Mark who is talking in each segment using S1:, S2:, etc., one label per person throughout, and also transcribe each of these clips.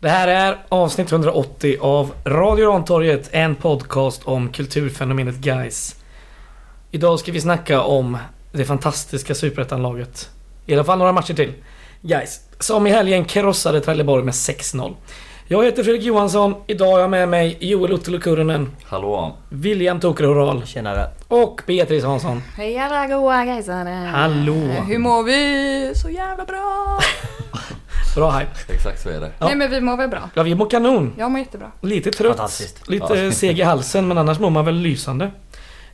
S1: Det här är avsnitt 180 av Radio Rantorget, en podcast om kulturfenomenet Guys. Idag ska vi snacka om det fantastiska superettanlaget. I alla fall några matcher till. Guys, som i helgen krossade Trelleborg med 6-0. Jag heter Fredrik Johansson, idag har jag med mig Joel Ottolo Kurunen,
S2: Hallå.
S1: William Tokre Horal
S3: Tjenare.
S1: och Beatrice Hansson.
S4: Hej alla goa gaisare!
S1: Hallå.
S4: Hur mår vi? Så jävla bra!
S1: Bra hype.
S2: Exakt så är det.
S1: Ja.
S4: Nej men vi mår väl bra?
S1: Ja, vi mår kanon.
S4: Jag mår jättebra.
S1: Lite trött,
S3: Fantastiskt.
S1: lite
S2: Ja.
S1: seg i halsen men annars mår man väl lysande.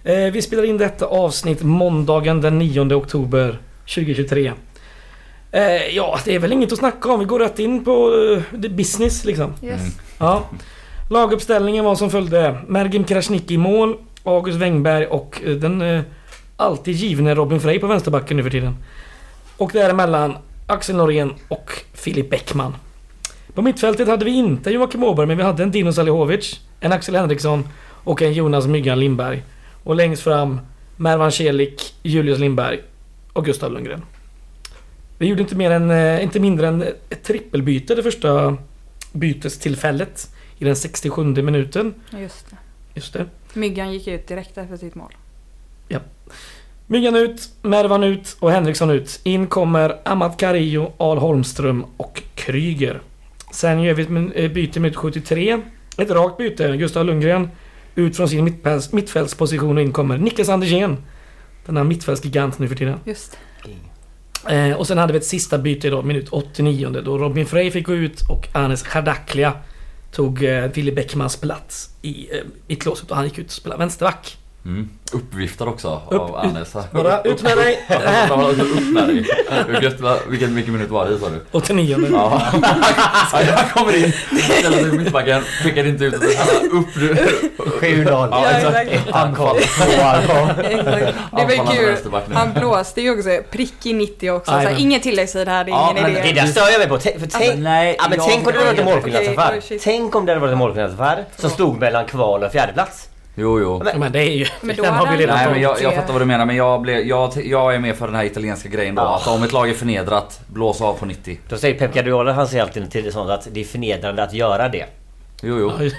S1: Eh, vi spelar in detta avsnitt måndagen den 9 oktober 2023. Eh, ja, det är väl inget att snacka om. Vi går rätt in på eh, the business liksom.
S4: Yes.
S2: Mm.
S1: Ja. Laguppställningen var som följde. Mergim Krasniqi i mål, August Wengberg och eh, den eh, alltid givne Robin Frey på vänsterbacken nu för tiden. Och däremellan Axel Norén och Filip Bäckman. På mittfältet hade vi inte Joakim Åberg men vi hade en Dino Salihovic, en Axel Henriksson och en Jonas Myggan Lindberg. Och längst fram Mervan Celik, Julius Lindberg och Gustav Lundgren. Vi gjorde inte, mer än, eh, inte mindre än ett trippelbyte det första bytestillfället i den 67 minuten.
S4: Just det.
S1: Just det.
S4: Myggan gick ut direkt efter sitt mål.
S1: Myggan ut, Mervan ut och Henriksson ut. In kommer Amat Carillo, Al Holmström och Kryger. Sen gör vi ett min- eh, byte i minut 73. Ett rakt byte. Gustav Lundgren ut från sin mittpäls- mittfältsposition och in kommer Niklas Andersén. Denna mittfältsgigant nu för tiden.
S4: Just det.
S1: Eh, och sen hade vi ett sista byte idag, minut 89 då Robin Frey fick gå ut och Anes Chardaklia tog eh, Willy Bäckmans plats i, eh, i klåset och han gick ut och spelade vänsterback.
S2: Mm. Uppviftad också av
S1: Upp,
S2: Anders.
S1: ut, bara ut med dig!
S2: Ja, bara Upp med dig. Hur gött var- Vilken vilken minut var det i sa du?
S1: 89 nu.
S2: Ja. Jag kommer in, ställer sig i mittbacken, skickar inte ut utan bara upp nu.
S3: 7-0.
S2: Ja,
S4: exakt.
S3: Anfall. Tvåa.
S4: Exakt. Det var ju
S2: Anfallande
S4: kul.
S2: vänsterback nu.
S4: Han blåste ju också prick i 90 också. Så här,
S1: Jajamän.
S4: inget tilläggstid här, det är
S2: Ja,
S4: ingen
S2: men
S3: Det
S4: idé.
S3: där stör jag mig på. Tänk, för tänk,
S2: nej,
S3: ja, men
S2: alltså, jag-
S3: tänk om det hade varit en
S2: Okej,
S3: målskillnadsaffär.
S4: oj, shit.
S3: tänk om det hade varit en målskillnadsaffär som stod mellan kval och fjärdeplats.
S2: Jo, jo.
S1: Ja, men det är ju...
S4: Men då
S1: den har vi
S4: hade
S1: redan
S2: Nej, men
S1: tagit.
S2: jag, jag fattar vad du menar men jag, blev, jag, jag är med för den här italienska grejen då.
S3: Ja.
S2: Att om ett lag är förnedrat, blås av på 90.
S3: Då säger Pep Guardiola, han säger alltid till sånt att det är förnedrande att göra det.
S2: Jo, jo.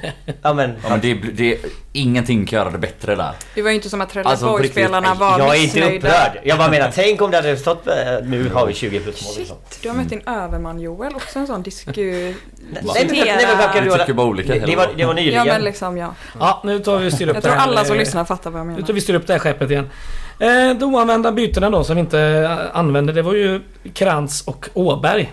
S3: Ja men...
S2: Ja, men det, det, ingenting kan göra det bättre där.
S4: Det var ju inte som att
S2: Alltså, på riktigt,
S4: Trelleborgsspelarna
S2: nej,
S4: var
S3: jag är inte
S4: missnöjda.
S3: upprörd. Jag bara menar, tänk om det hade stått... eh, Nu har vi 20 plus mål liksom.
S4: Shit, du har mött din överman Joel. Också en sån disku...
S3: Nej, nej, men- nej, men Pep
S4: diskutera-
S2: Vi
S3: Guardiola...
S2: tycker bara olika,
S3: Det, det, var, det var
S4: Ja
S3: nyligen.
S4: men liksom ja.
S1: Ja, nu tar vi och styr upp
S4: Jag
S1: det
S4: tror
S1: här.
S4: alla som
S1: Eh,
S4: lyssnar fattar vad jag
S1: Nu tar
S4: menar.
S1: vi styr upp det här skeppet igen. Eh, de oanvända bytena då som vi inte eh, använde det var ju Krantz och Åberg.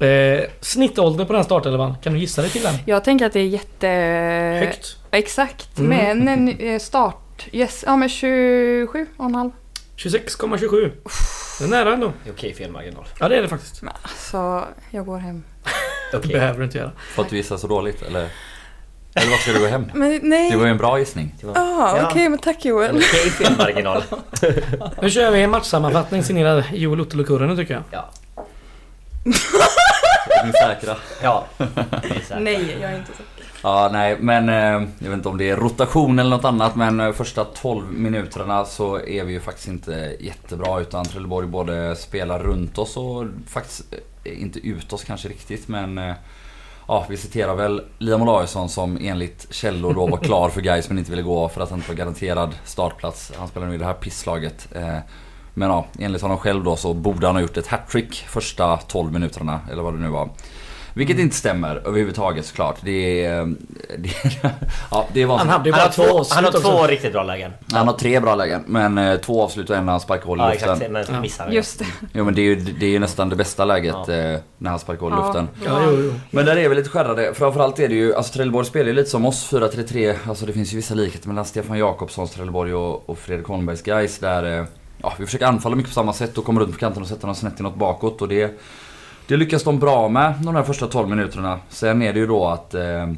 S1: Eh, snittålder på den här startelvan, kan du gissa dig till den?
S4: Jag tänker att det är jätte... Eh.
S1: Högt.
S4: Exakt,
S1: Mm.
S4: men en eh, start. Yes, ja men 27 och en halv.
S1: 26,27. Det är nära ändå.
S3: Det är Okej, fel marginal.
S1: Ja det är det faktiskt.
S4: Men alltså, jag går hem.
S1: Det
S3: Okej.
S1: behöver du inte göra.
S2: För att du gissar så dåligt eller? Eller vad ska du gå hem?
S4: Men nej.
S2: Det var ju en bra gissning.
S4: Ah,
S3: Ja.
S4: Okej, men tack
S3: Men
S4: Joel.
S3: Okej, fel marginal.
S1: Nu kör vi en matchsammanfattning signerad Joel Ottolo tycker jag.
S3: Ja.
S2: Är ni säkra?
S3: Ja. Det är så här.
S4: Nej, jag är inte så.
S2: Ja, nej, men eh, jag vet inte om det är rotation eller något annat men eh, första 12 minuterna så är vi ju faktiskt inte jättebra utan Trelleborg både spelar runt oss och faktiskt eh, inte ut oss kanske riktigt men eh, Ja, vi citerar väl Liam Olausson som enligt källor då var klar för Gais men inte ville gå för att han inte var garanterad startplats. Han spelar nu i det här pisslaget. Eh, Men ja, enligt honom själv då så borde han ha gjort ett hattrick första 12 minuterna eller vad det nu var.
S3: Mm.
S2: Vilket inte stämmer överhuvudtaget såklart. Det är... eh, Det, ja, det är
S1: Han
S2: vansinnigt.
S1: hade ju
S3: Han
S1: bara
S3: har
S1: två
S3: två, han har
S1: avslut
S3: två
S1: också.
S3: riktigt bra lägen.
S2: Han har tre bra lägen men eh, två avslut och en när han sparkar hål i
S3: Ja
S2: luften.
S3: exakt, men missar den.
S4: Just det.
S2: Jo men det är ju, det är ju nästan det bästa läget eh, när han sparkar hål i luften.
S1: Ja, jo, jo.
S2: Men där är vi lite skärrade. Framförallt är det ju, alltså Trelleborg spelar ju lite som oss 4-3-3. Alltså det finns ju vissa likheter mellan Stefan Jakobssons Trelleborg och, och Fredrik Holmbergs Gais där eh, ja, vi försöker anfalla mycket på samma sätt och kommer runt på kanten och sätta något snett inåt bakåt och det, det lyckas de bra med de här första 12 minuterna. Sen är det ju då att eh,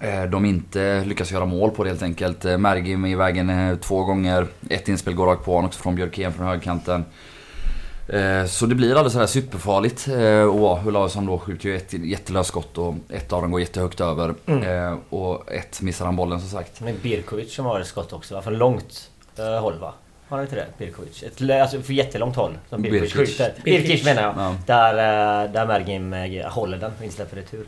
S2: Eh, De inte lyckas göra mål på det helt enkelt. Eh, Mergim är i vägen eh, två gånger. Ett inspel går rakt på honom också från Björkén från högerkanten. Eh, Så det blir alldeles sådär superfarligt. Eh, Och ja, Olausson då skjuter ju ett jättelöst skott och ett av dem går jättehögt över.
S1: Mm.
S2: Eh, Och ett missar han bollen som sagt.
S3: Men Birkovic som har ett skott också va? Från långt eh, håll va? Har han inte det? Birkovic? Ett, lö- alltså för jättelångt håll. Som Birkovic
S2: Birkic.
S3: skjuter.
S1: Birkic.
S3: Birkic menar jag.
S2: Ja.
S3: Där, eh, där Mergim eh, håller den och inte släpper retur.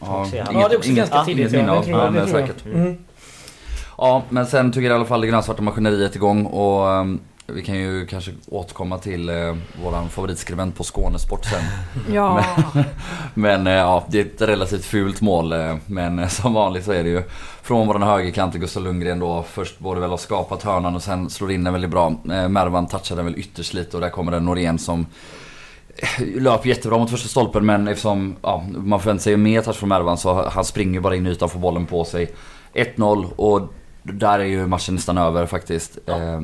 S2: Ja,
S3: Inget-
S1: Ja, det är också
S2: inget-
S1: ganska
S2: ah,
S1: tidigt.
S2: inget minne
S1: Ja, det
S2: av,
S1: tror jag.
S2: men
S1: det tror jag.
S2: säkert.
S1: Mm.
S2: Ja, men sen tycker jag i alla fall det grönsvarta maskineriet igång och ehm, vi kan ju kanske återkomma till eh, våran favoritskribent på Skånesport sen.
S4: Ja.
S2: Men eh, ja, det är ett relativt fult mål. eh, Men eh, som vanligt så är det ju från våran högerkant till Gustav Lundgren då. Först borde väl ha skapat hörnan och sen slår in den väldigt bra. Eh, Mervan touchar den väl ytterst lite och där kommer den Norén som eh, löper jättebra mot första stolpen men eftersom ja, man förväntar sig mer touch från Mervan så han springer bara in i ytan och får bollen på sig. 1-0 och där är ju matchen nästan över faktiskt. Eh,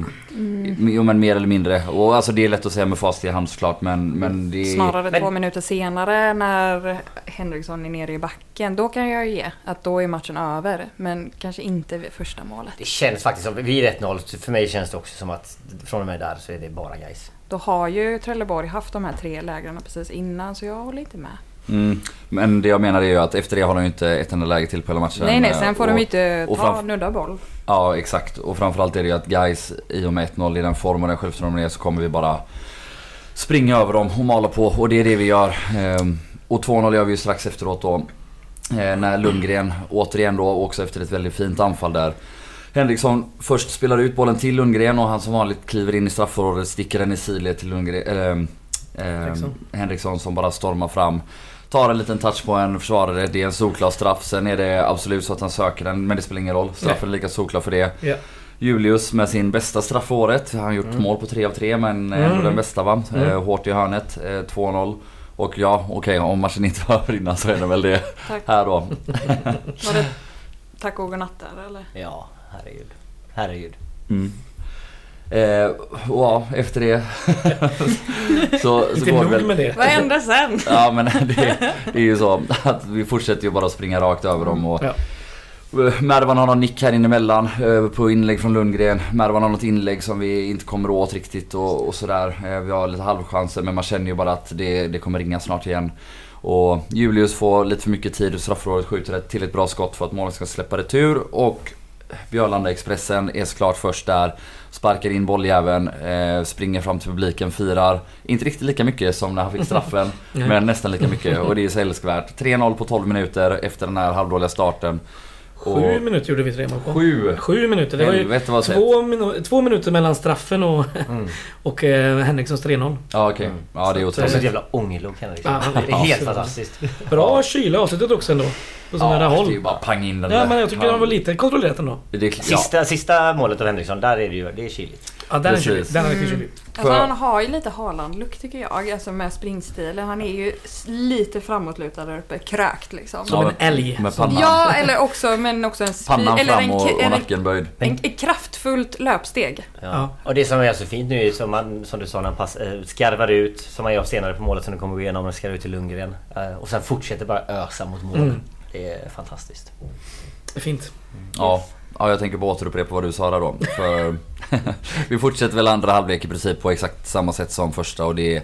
S2: Jo men mer eller mindre. Och alltså det är lätt att säga med facit i hand såklart men, men det är...
S4: Snarare
S3: Men-
S4: två minuter senare när Henriksson är nere i backen. Då kan jag ju ge att då är matchen över. Men kanske inte vid första målet.
S3: Det känns faktiskt som, vid 1-0, för mig känns det också som att från och med där så är det bara guys.
S4: Då har ju Trelleborg haft de här tre lägren precis innan så jag håller inte med.
S2: Mm. Men det jag menar är ju att efter det har de ju inte ett enda läge till på hela matchen.
S4: nej nej, sen får
S2: och,
S4: de ju inte ta
S2: eh, och framf-
S4: nudda boll.
S2: Ja exakt. Och framförallt är det ju att guys i och med 1-0 i den form och den självförtroende de är så kommer vi bara springa över dem och mala på. Och det är det vi gör. Ehm, Och 2-0 gör vi ju strax efteråt då. Eh, När Lundgren återigen då också efter ett väldigt fint anfall där. Henriksson först spelar ut bollen till Lundgren och han som vanligt kliver in i straffområdet, sticker den i sidled till Lundgren, eller,
S1: Henriksson.
S2: Henriksson. Henriksson som bara stormar fram. Tar en liten touch på en försvarare, det är en solklar straff. Sen är det absolut så att han söker den, men det spelar ingen roll. Straffen är lika solklar för det.
S1: Ja.
S2: Julius med sin bästa straff för året. Han har gjort mål på 3 av 3 men ändå
S1: Mm.
S2: den bästa va?
S1: Mm.
S2: Eh, Hårt i hörnet, eh, 2-0. Och ja, okej om matchen inte var över innan så är det väl det
S4: Tack.
S2: här då.
S4: Var det tack och godnatt där eller?
S3: Ja, herregud. Herregud.
S2: Mm. Eh, och ja, efter det så, så
S1: Inte
S2: går
S1: nog
S2: det väl...
S1: med det.
S4: Vad hände sen?
S2: Ja men det, det är ju så att vi fortsätter ju bara springa rakt över dem och
S1: Ja.
S2: Mervan har någon nick här inemellan eh, på inlägg från Lundgren. Mervan har något inlägg som vi inte kommer åt riktigt och, och sådär. Eh, Vi har lite halvchanser men man känner ju bara att det, det kommer ringa snart igen. Och Julius får lite för mycket tid och straffområdet skjuter ett, till ett bra skott för att målet ska släppa retur. Och Björlanda Expressen är såklart först där. Sparkar in bolljäveln, eh, springer fram till publiken, firar. Inte riktigt lika mycket som när han fick straffen.
S1: Nej.
S2: men nästan lika mycket och det är så älskvärt. 3-0 på 12 minuter efter den här halvdåliga starten.
S1: Sju minuter gjorde vi tre mål på.
S2: Sju!
S1: Sju minuter. Det var ju
S2: Helvete Mm. vad sent.
S1: två, minu- två minuter mellan straffen och, och eh, Henrikssons 3-0.
S2: Ja okej. Ja
S1: Mm.
S2: det är
S1: Så
S3: Och så ett
S2: otroligt.
S3: jävla ångerlok henne liksom.
S1: Ja,
S3: Det är helt
S1: absolut.
S3: fantastiskt.
S1: Bra kyla i avslutet också ändå. På så nära
S2: Ja, det är ju
S1: håll.
S2: bara pang in den
S1: Ja,
S2: där.
S1: men jag tycker
S2: Ja.
S1: det var lite kontrollerat ändå.
S2: Det är, ja.
S3: Sista, sista målet av Henriksson, där är det ju, det är kyligt.
S1: Ja, den är
S2: Precis. Mm.
S1: kylig. Den är riktigt kylig.
S4: Alltså
S2: För-
S4: han har ju lite Haaland-look tycker jag, alltså med springstilen. Han är ju s- lite framåtlutad där uppe, krökt liksom.
S1: Som en älg.
S2: Med pannan,
S4: Ja, eller också, men också en, spi-
S2: pannan
S4: eller
S2: fram
S4: en,
S2: och,
S4: k-
S2: och
S4: en,
S2: nacken böjd.
S4: en, ett kraftfullt löpsteg.
S3: Ja.
S1: Ja.
S3: Och det som är så fint nu är ju som, man, som du sa när han pass, eh, skarvar ut, som han gör senare på målet som du kommer gå igenom, och skarvar ut till Lundgren. Eh, och sen fortsätter bara ösa mot mål.
S1: Mm.
S3: Det är fantastiskt.
S1: Det är Fint.
S2: Ja. ja, jag tänker på att återupprepa vad du sa där då. För vi fortsätter väl andra halvlek i princip på exakt samma sätt som första och det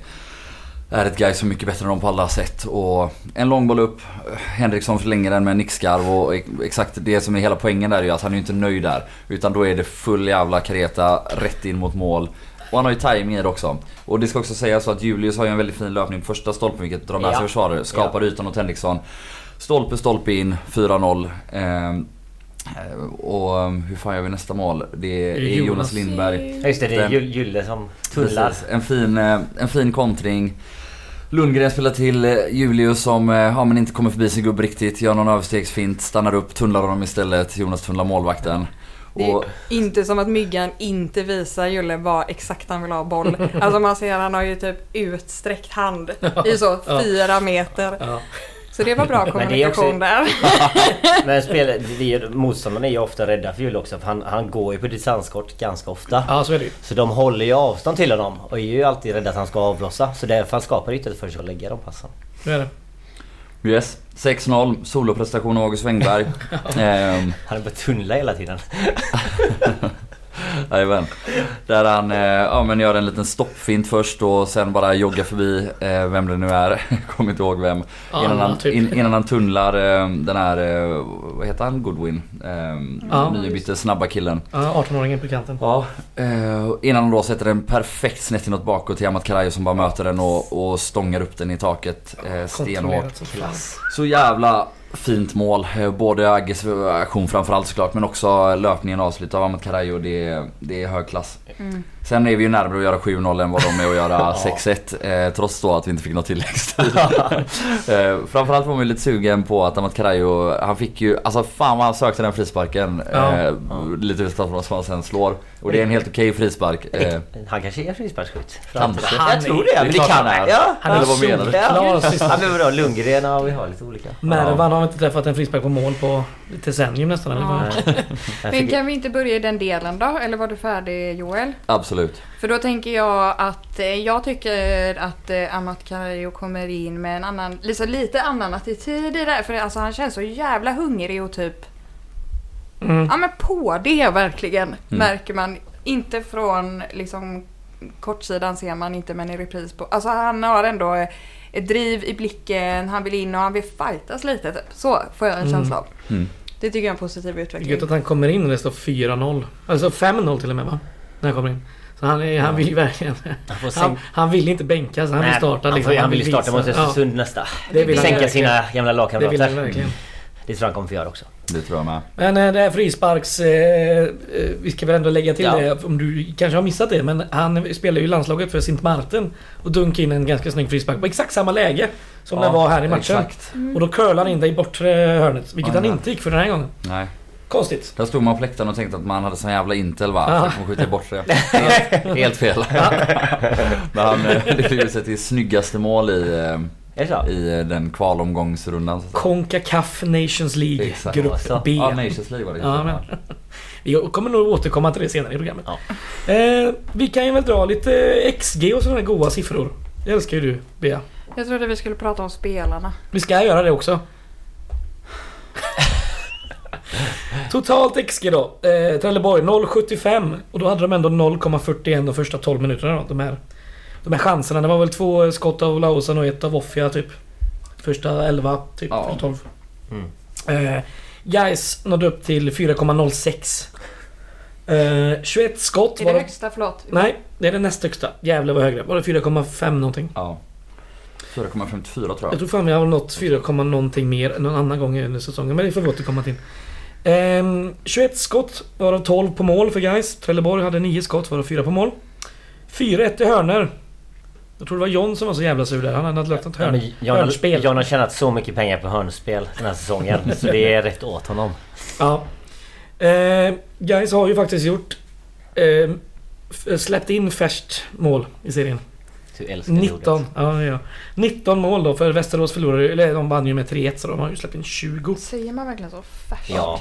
S2: är ett guy som är mycket bättre än dem på alla sätt. Och en lång boll upp, Henriksson förlänger den med en nickskarv och ex- exakt det som är hela poängen där är ju att han är ju inte nöjd där. Utan då är det full jävla kareta rätt in mot mål. Och han har ju tajming i det också. Och det ska också sägas så att Julius har ju en väldigt fin löpning på första stolpen vilket drar med sig
S3: Ja.
S2: försvarare. Skapar ytan åt Henriksson. Stolpe, stolpe in, 4-0. Ehm, Eh, Och eh, hur fan gör vi nästa mål? Det är
S1: Jonas.
S2: Jonas, Lindberg.
S3: Ja, just det, det är
S2: Den-
S3: Jul- Julle som tullar.
S2: Precis. En fin, eh, en fin kontring. Lundgren spelar till eh, Julius som eh, ja, men inte kommer förbi sin gubbe riktigt. Gör någon överstegsfint, stannar upp, tunnlar honom istället. Jonas tunnlar målvakten.
S4: Det är
S2: Och,
S4: inte som att myggan inte visar Julle vad exakt han vill ha boll. Alltså man ser han har ju typ utsträckt hand i så
S1: Ja.
S4: fyra meter.
S1: Ja.
S4: Så det var bra
S3: Men det är också-
S4: kommunikation där.
S3: Men spel, det är, motståndarna är ju ofta rädda för Julle också för han, han går ju på distanskort ganska ofta.
S1: ja, så är det ju.
S3: Så de håller ju avstånd till honom och är ju alltid rädda att han ska avlossa. Så därför skapar yttret för sig att lägga alltså. de passen.
S1: Det är det.
S2: yes, 6-0. Soloprestation av August Wengberg. Ehm,
S3: Han är bara tunnla hela tiden.
S2: Jajamän. Där han eh, ja, men gör en liten stoppfint först och sen bara joggar förbi eh, vem det nu är. Kommer inte ihåg vem.
S1: Ja,
S2: innan, han,
S1: typ.
S2: in, innan han tunnlar eh, den här, eh, vad heter han, Goodwin? Eh,
S1: Ja.
S2: Nybytte snabba killen.
S1: Ja, 18-åringen på kanten.
S2: Ja, eh, innan hon då sätter en perfekt snett inåt bakåt till Amat Karajo som bara möter den och, och stångar upp den i taket eh, stenhårt.
S1: Kontrollerat som fan.
S3: Klass.
S2: Så jävla fint mål. Eh, Både Agges aktion framförallt såklart men också löpningen och avslutet av Amat Karajo. Det, är- det är hög klass.
S4: Mm.
S2: Sen är vi ju närmare att göra 7-0 än vad de är att göra 6-1. Eh, trots då att vi inte fick något tilläggstid. eh, framförallt var man ju lite sugen på att Amat Karajo, han fick ju, alltså fan vad han sökte den frisparken.
S1: Ja.
S2: Eh, lite utanför vad han sen slår. Och det är en helt okej frispark. Eh,
S3: Han kanske är frisparksskytt.
S2: Kanske.
S3: Jag tror det. Men det
S2: klart
S3: kan
S2: han är.
S3: han. Ja.
S1: Han är
S2: Eller vad menar du?
S1: solklar sist.
S3: Ja, men vadå, Lundgren ja, vi har lite olika.
S1: Mervan har inte träffat en frispark på mål på ett decennium nästan. Eller? vad?
S4: Ja. Men kan vi inte börja i den delen då? Eller var du färdig Joel?
S2: Absolut.
S4: För då tänker jag att eh, jag tycker att eh, Amat Karajo kommer in med en annan, liksom lite annan attityd i det här. För alltså, han känns så jävla hungrig och typ,
S1: Mm.
S4: ja men på det verkligen märker man. Inte från liksom kortsidan ser man inte men i repris på. Alltså han har ändå eh, ett driv i blicken, han vill in och han vill fightas lite typ. Så får jag en känsla av.
S2: Mm.
S4: Det tycker jag är en positiv
S1: Det är
S4: utveckling.
S1: Gött att han kommer in när det står 4-0. Alltså 5-0 till och med va? När han kommer in. Så han, är, han vill ju verkligen...
S3: Han får
S1: Han,
S3: sänka-
S1: han vill inte bänkas, han vill
S3: Nej,
S1: starta.
S3: han,
S1: Liksom.
S3: får- han vill ju starta mot
S1: visa.
S3: Östersund nästa.
S1: Det vill han
S3: Sänka
S1: verkligen.
S3: sina gamla
S1: Ja, det vill han
S3: lagkamrater.
S1: verkligen.
S3: Det tror jag han kommer få göra också.
S2: Det tror jag med.
S1: Men eh, det här frisparks... Eh, eh, vi ska väl ändå lägga till
S3: Ja.
S1: det om du kanske har missat det. Men han spelar ju i landslaget för Sint Maarten. Och dunkade in en ganska snygg frispark på exakt samma läge som det var här i matchen. Mm.
S2: Exakt.
S1: Och då curlar han in det i bortre hörnet. Vilket
S2: Ja,
S1: han
S2: ja.
S1: inte gick för den här gången.
S2: Nej.
S1: Konstigt.
S2: Där stod man på läktaren och tänkte att man hade sån jävla intel va?
S1: Ja.
S2: Ja. Man skjuter bort det. Helt, helt fel. Men han eh, lyckades ju sätta sitt snyggaste mål i, eh,
S3: Är det så?
S2: i eh, den kvalomgångsrundan. Så att säga.
S1: Conca Caf Nations League
S2: Exakt.
S1: Grupp
S3: Så.
S1: B.
S2: Ja, Nations League var det.
S1: Ja, men. Vi kommer nog återkomma till det senare i programmet.
S3: Ja.
S1: Eh, vi kan ju väl dra lite XG och sådana där goa siffror. Det älskar ju du Bea.
S4: Jag trodde vi skulle prata om spelarna.
S1: Vi ska göra det också. Totalt XG då. Eh, Trelleborg 0,75 och då hade de ändå 0,41 de första 12 minuterna då. De här, de här chanserna. Det var väl två skott av Laosen och ett av Offia typ. Första 11, typ.
S2: Ja.
S1: Första 12. Eh, Gais nådde upp till 4,06. Eh, 21 skott.
S4: Är
S1: var
S4: det
S1: det-
S4: högsta? Förlåt.
S1: Nej, det är den näst högsta. Gävle var högre. Var det 4,5 någonting?
S2: Ja. 4,54 tror
S1: Jag
S2: jag.
S1: tror fan vi har nått 4, komma någonting mer någon annan gång under säsongen. Men det får vi återkomma till. Ehm, 21 skott, varav 12 på mål för guys. Trelleborg hade 9 skott, varav 4 på mål. 4-1 i hörner. Jag tror det var John som var så jävla sur där. Han hade lagt något
S3: Ja, men
S1: hörn,
S3: John,
S1: hörnspel.
S3: har, John har tjänat så mycket pengar på hörnspel den här säsongen. så det är rätt åt honom.
S1: Ja. Eh, guys har ju faktiskt gjort... Eh, f- släppt in färskt mål i serien.
S3: Du älskar det ordet.
S1: 19, ja, ja. 19 mål då för Västerås förlorade ju- eller de vann ju med 3-1 så de har ju släppt in 20.
S4: Säger man verkligen så? Färskt?
S3: Ja,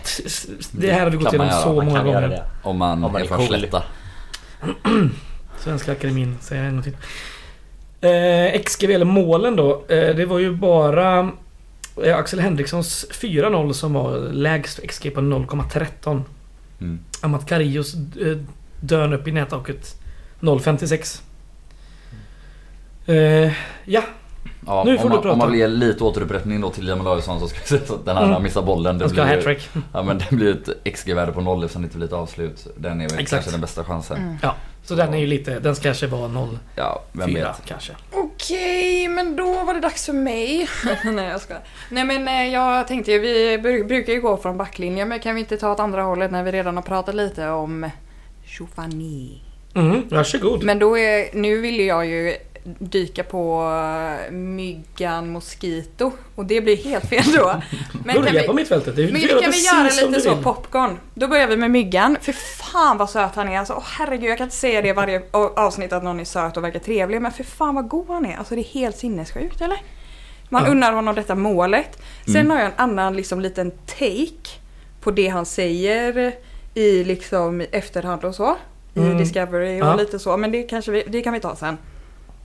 S1: Det här har vi gått
S2: Kan
S1: igenom
S2: man göra,
S1: så
S2: man
S1: många
S3: kan göra
S1: gånger.
S3: det.
S2: Om man,
S3: Om man
S2: är
S3: är
S2: från
S3: cool.
S2: Slätta.
S1: Svenska Akademin säger jag en gång till. Eh, XGV, eller målen då. Eh, det var ju bara eh, Axel Henrikssons 4-0 som var lägst XG på 0,13.
S2: Mm.
S1: Amat Karius eh, dön upp i nättaket 0,56. Eh, ja,
S2: Ja,
S1: Nu
S2: om
S1: får du
S2: man,
S1: prata.
S2: Om man vill ge lite återupprättning då till Liam Olausson så ska jag säga så att den här
S1: Mm.
S2: missar bollen. Det
S1: han ska ha
S2: blir, ju-
S1: hattrick.
S2: ja, men det blir ett XG-värde på noll eftersom det inte blir ett avslut. Den är
S1: Exakt.
S2: väl
S1: Mm.
S2: kanske den bästa chansen.
S1: Ja, så den är ju lite... Den ska kanske vara 0,4
S2: Ja, vem vet.
S1: kanske.
S4: Okej, men då var det dags för mig. Nej, jag skojar. Nej, men eh, jag tänkte ju, vi bru- brukar ju gå från backlinjen, men kan vi inte ta åt andra hållet när vi redan har pratat lite om Chofani?
S1: Mm, varsågod.
S4: Men då är, nu ville jag ju dyka på eh, myggan Mosquito och det blir helt fel då. Men
S1: Börja
S4: kan vi,
S1: på mittfältet. Det är-
S4: men
S1: du får
S4: kan vi
S1: precis
S4: göra
S1: som
S4: lite
S1: du
S4: så,
S1: vill.
S4: popcorn? Då börjar vi med myggan. För fan vad söt han är alltså. Åh herregud, jag kan inte säga det i varje a- avsnitt att någon är söt och verkar trevlig. Men för fan vad god han är. Alltså det är helt sinnessjukt eller? Man
S1: Ja. Mm.
S4: unnar honom detta målet. Sen har jag en annan liksom liten take på det han säger i liksom i efterhand och så. I
S1: Mm.
S4: Discovery och
S1: Ja.
S4: lite så. Men det, kanske vi, det kan vi ta sen.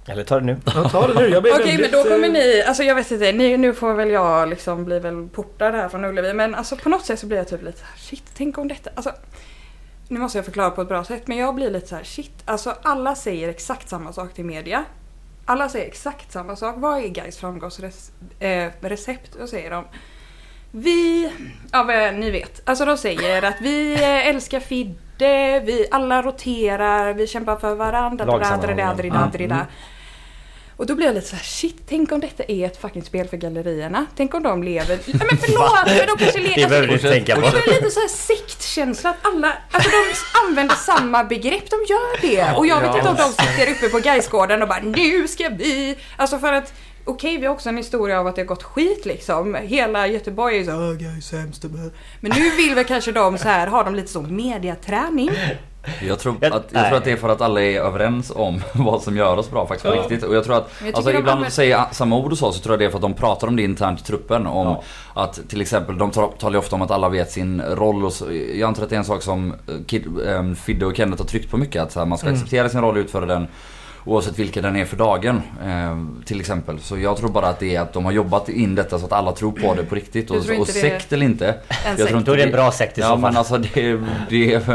S3: Eller ta det nu.
S1: Ja, ta det nu. Jag blir
S4: Okej men
S1: väldigt,
S4: då kommer
S1: eh,
S4: ni, alltså jag vet inte, ni, nu får väl jag liksom bli väl portad här från Ullevi men alltså på något sätt så blir jag typ lite så här, shit tänk om detta, alltså nu måste jag förklara på ett bra sätt, men jag blir lite så här: shit, alltså alla säger exakt samma sak till media. Alla säger exakt samma sak. Vad är Gais framgångsrecept? Vad eh, säger de? Vi, ja vad ni vet, alltså de säger att vi eh, älskar Fidde, vi alla roterar, vi kämpar för varandra.
S3: Lagsammanhållning.
S4: dadra, dadra,
S2: Ja.
S4: dadra, dadra. Och då blir jag lite så här: shit, tänk om detta är ett fucking spel för gallerierna. Tänk om de lever... Nej men förlåt! men de kanske lever...
S3: Det behöver du inte
S2: Fortsätt.
S3: tänka på.
S4: Och det är lite så här sektkänsla att alla, alltså de använder samma begrepp, de gör det. Och jag vet
S2: Ja.
S4: inte om de sitter uppe på Gaisgården och bara nu ska vi, alltså för att Okej, vi har också en historia av att det har gått skit liksom. Hela Göteborg är så "Åh, Gais sämst. Men nu vill väl kanske de så här, har de lite så mediaträning.
S2: Jag tror,
S3: Jag-
S2: att, jag tror
S3: nej.
S2: att det är för att alla är överens om vad som gör oss bra faktiskt på
S1: Ja.
S2: riktigt. Och jag tror att,
S4: Men jag
S2: alltså
S4: tycker de
S2: ibland när de
S4: använder-
S2: säger samma ord och så, så tror jag det är för att de pratar om det internt i truppen. Om
S3: Ja.
S2: att till exempel, de tar- talar ju ofta om att alla vet sin roll och så, Jag antar att det är en sak som eh, Kid, eh, Fidde och Kenneth har tryckt på mycket. Att så här, man ska
S4: Mm.
S2: acceptera sin roll och utföra den. Oavsett vilken den är för dagen eh, till exempel. Så jag tror bara att det är att de har jobbat in detta så att alla tror på det på riktigt.
S4: Du
S2: Och,
S4: tror
S2: och
S4: inte det är
S2: sekt eller inte.
S4: En
S2: Jag
S4: sekt.
S2: tror inte
S3: Då är det en bra sekt i
S2: Ja
S3: så
S2: men
S3: fall.
S2: alltså det, det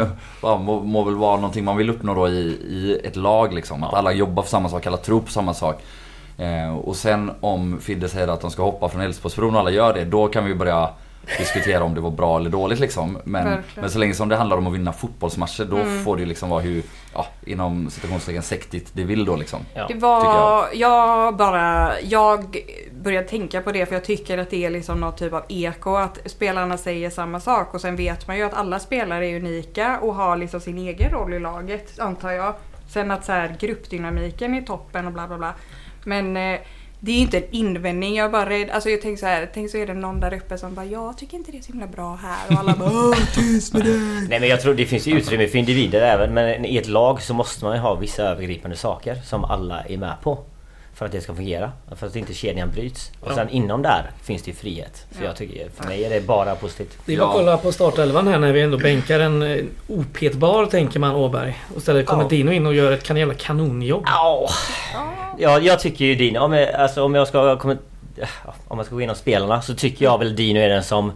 S2: ja, må, må väl vara någonting man vill uppnå då i, i ett lag liksom. Att alla jobbar för samma sak, alla tror på samma sak. Eh, och sen om Fidde säger att de ska hoppa från Älvsborgsbron och alla gör det, då kan vi börja diskutera om det var bra eller dåligt liksom. Men,
S4: Verkligen.
S2: men så länge som det handlar om att vinna fotbollsmatcher då får det ju liksom vara hur, ja, inom citationstecken sektigt det vill då liksom.
S3: Ja.
S4: Det
S2: tycker
S4: var,
S2: jag.
S4: jag. bara, jag började tänka på det för jag tycker att det är liksom någon typ av eko att spelarna säger samma sak och sen vet man ju att alla spelare är unika och har liksom sin egen roll i laget antar jag. Sen att så här, gruppdynamiken är toppen och bla bla bla. Men eh, det är ju inte en invändning, jag är bara rädd. Alltså jag tänker så här, tänk så är det någon där uppe som bara jag tycker inte det är så himla bra här och alla bara "Åh, tyst med dig.
S3: Nej men jag tror det finns ju utrymme för individer även men i ett lag så måste man ju ha vissa övergripande saker som alla är med på. För att det ska fungera. För att inte kedjan bryts. Och sen inom där finns det ju frihet. Så
S4: Ja.
S3: jag tycker, för mig är det bara positivt.
S1: Det är bara att
S2: Ja.
S1: kolla på startelvan här när vi ändå bänkar en eh, opetbar tänker man Åberg. Och istället kommer
S3: Ja.
S1: Dino in och gör ett kan- jävla kanonjobb.
S3: Au. Ja, jag tycker ju Dino. Om jag, alltså, om jag ska komma, om jag ska gå igenom spelarna så tycker jag väl Dino är den som...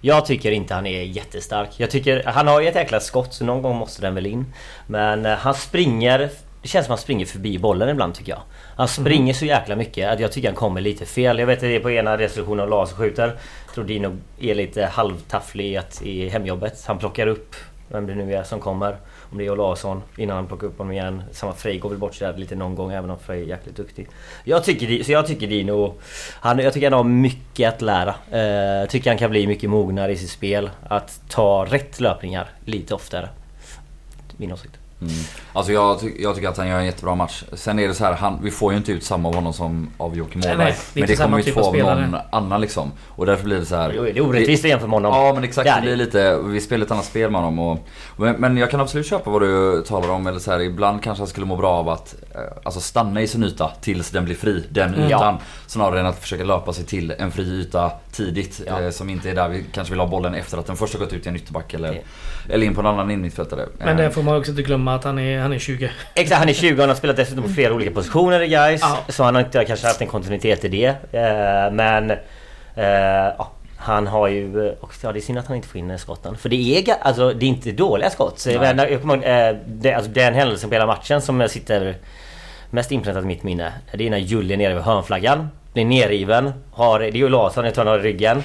S3: Jag tycker inte han är jättestark. Jag tycker, han har ju ett jäkla skott så någon gång måste den väl in. Men eh, han springer... Det känns som han springer förbi bollen ibland tycker jag. Han springer så jäkla mycket att jag tycker han kommer lite fel. Jag vet att det är på ena resolutionen och laserskjuter. Jag tror Dino är lite halvtafflig i att- i hemjobbet. Han plockar upp vem det nu är som kommer. Om det är Olausson innan han plockar upp honom igen. Samma Frej går väl bort sig där lite någon gång även om Frej är jäkligt duktig. Jag tycker, så jag tycker Dino... Han, jag tycker han har mycket att lära. Eh, tycker han kan bli mycket mognare i sitt spel. Att ta rätt löpningar lite oftare. Min åsikt.
S2: Mm. Alltså jag, ty- jag tycker att han gör en jättebra match. Sen är det så här, han, vi får ju inte ut samma av honom som av Joakim
S1: Nej,
S2: Åberg.
S1: nej, det är
S2: men
S1: inte
S2: det
S1: samma
S2: kommer vi
S1: typ
S2: inte
S1: av
S2: få av
S1: spelare.
S2: någon annan liksom. Och därför blir det så här.
S3: Jo, det är orättvist att jämföra med honom.
S2: Ja men exakt,
S3: Det är
S2: det blir
S3: det.
S2: lite, vi spelar ett annat spel med honom. Och, men, men jag kan absolut köpa vad du talar om. Eller så här, ibland kanske han skulle må bra av att eh, alltså stanna i sin yta tills den blir fri. Den
S3: Mm.
S2: ytan.
S3: Ja.
S2: Snarare än att försöka löpa sig till en fri yta tidigt.
S3: Ja.
S2: Eh, som inte är där vi kanske vill ha bollen efter att den först har gått ut i en ytterback eller, eller in på en annan innermittfältare.
S1: Men
S2: Eh,
S1: det får man också inte glömma att han är, han är 20.
S3: Exakt, han är 20 och han har spelat dessutom på flera olika positioner i guys.
S1: Ja.
S3: Så han har inte kanske haft en kontinuitet i det. Eh, Men... eh, ja, Han har ju... eh, Och ja, det är synd att han inte får in skotten. För det är, ga- alltså, det är inte dåliga skott. Så, jag
S2: Nej.
S3: menar, jag kommer ihåg, eh, det, alltså, den händelsen på hela matchen som jag sitter mest inpräntat i mitt minne. Det är när Julie är nere vid hörnflaggan. Blir nerriven. Har, det är ju Larsson, jag tror han har i ryggen.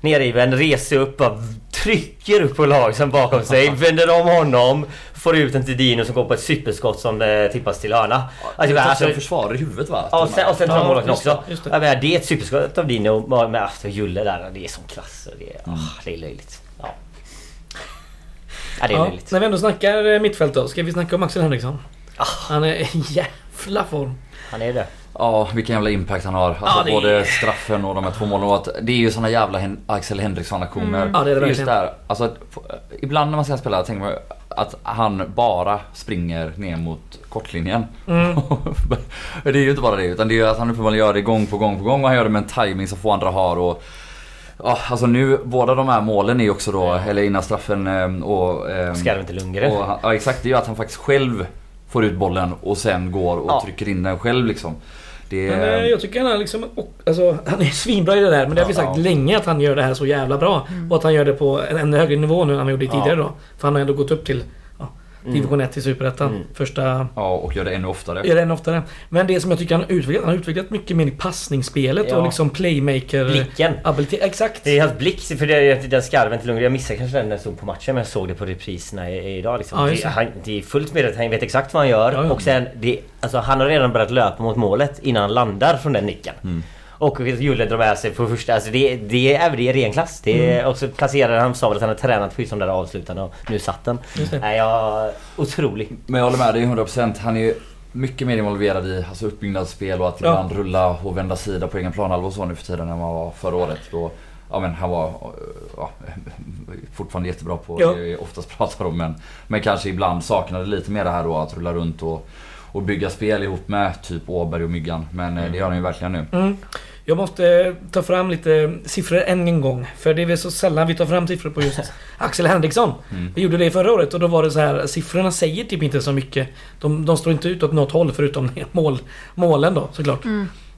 S3: Nerriven, reser upp, bara trycker upp på Larsson bakom sig. Vänder om honom. Får ut den till Dino som går på ett superskott som eh, tippas till hörna.
S2: Alltså,
S3: Alltså, jag bara,
S2: alltså,
S3: alltså,
S2: försvar i huvudet va?
S3: Ja, och sen, och sen tar
S1: Ja,
S3: han målvakten
S1: just
S3: också.
S1: det, just det.
S3: Jag menar, det är ett superskott av Dino med med After Julle där. Det är som klass. Och det, är, ah, det är löjligt. Ja. ja, det är
S1: Ja,
S3: löjligt. Ah.
S1: när vi ändå snackar eh, mittfält då, ska vi snacka om Axel Henriksson? Han är i jävla form.
S3: Han är det.
S2: Ja, vilken jävla impact han har. Alltså
S1: Ja, det är-
S2: både straffen och de här två målen. Och att det är ju såna jävla Hen- Axel Henriksson-aktioner.
S1: Mm. Ja, det är det
S2: Just
S1: verkligen.
S2: där. Alltså, att få- ibland när man ser han spela tänker man att han bara springer ner mot kortlinjen.
S1: Mm.
S2: det är ju inte bara det utan det är ju att han uppenbarligen gör det gång på gång på gång och han gör det med en timing som få andra har. Och, ja, alltså nu, båda de här målen är ju också då, eller innan straffen eh, och... ehm,
S3: Skarven till Lundgren.
S2: och han, ja exakt, det är ju att han faktiskt själv får ut bollen och sen går och
S3: Ja.
S2: trycker in den själv liksom. Det
S1: Men, eh,
S2: är...
S1: jag tycker han är liksom... och- Alltså, han är svinbra i det där men det har vi
S2: Ja,
S1: sagt
S2: ja.
S1: länge
S4: Mm.
S1: att han gör det här så jävla bra. Och att han gör det på en ännu högre nivå nu än han gjorde tidigare då. För han har ändå gått upp till
S3: Mm.
S1: division 1 till superettan.
S3: Mm.
S1: Första...
S2: Ja, och gör det ännu oftare.
S1: Är det än oftare. Men det som jag tycker han har utvecklat, han har utvecklat mycket mer i passningsspelet
S3: Ja.
S1: och liksom playmaker...
S3: Blicken.
S1: Ability. Exakt!
S3: Det är hans blick, för det, den skarven till Lundgren. Jag missade kanske den när jag såg på matchen men jag såg det på repriserna i- idag. Liksom.
S1: Ja, just
S3: det,
S1: det.
S3: han, det är fullt med att han vet exakt vad han gör.
S1: Ja, ja.
S3: Och sen, det, alltså, han har redan börjat löpa mot målet innan han landar från den nicken. Och Julle drar med sig på första. Alltså det, det är, det är ren klass. Det är,
S1: Mm.
S3: Och så placerade han, sa väl att han hade tränat på just de där avslutarna och nu satt den.
S1: Just det.
S3: Nej, jag, otrolig.
S2: Men jag håller med dig 100%. Han är ju mycket mer involverad i alltså uppbyggnadsspel och att
S1: Ja.
S2: ibland rulla och vända sida på egen planhalva och så nu för tiden än vad han var förra året. Då, ja, men han var eh, ja, fortfarande jättebra på
S1: Ja.
S2: det vi oftast pratar om men, men kanske ibland saknade lite mer det här då att rulla runt och, och bygga spel ihop med typ Åberg och Myggan. Men eh, det gör han ju verkligen nu.
S1: Mm. Jag måste ta fram lite siffror än en gång. För det är väl så sällan vi tar fram siffror på just Axel Henriksson.
S2: Mm.
S1: Vi gjorde det förra året och då var det så här, siffrorna säger typ inte så mycket. De, de står inte ut åt något håll förutom mål, målen då såklart.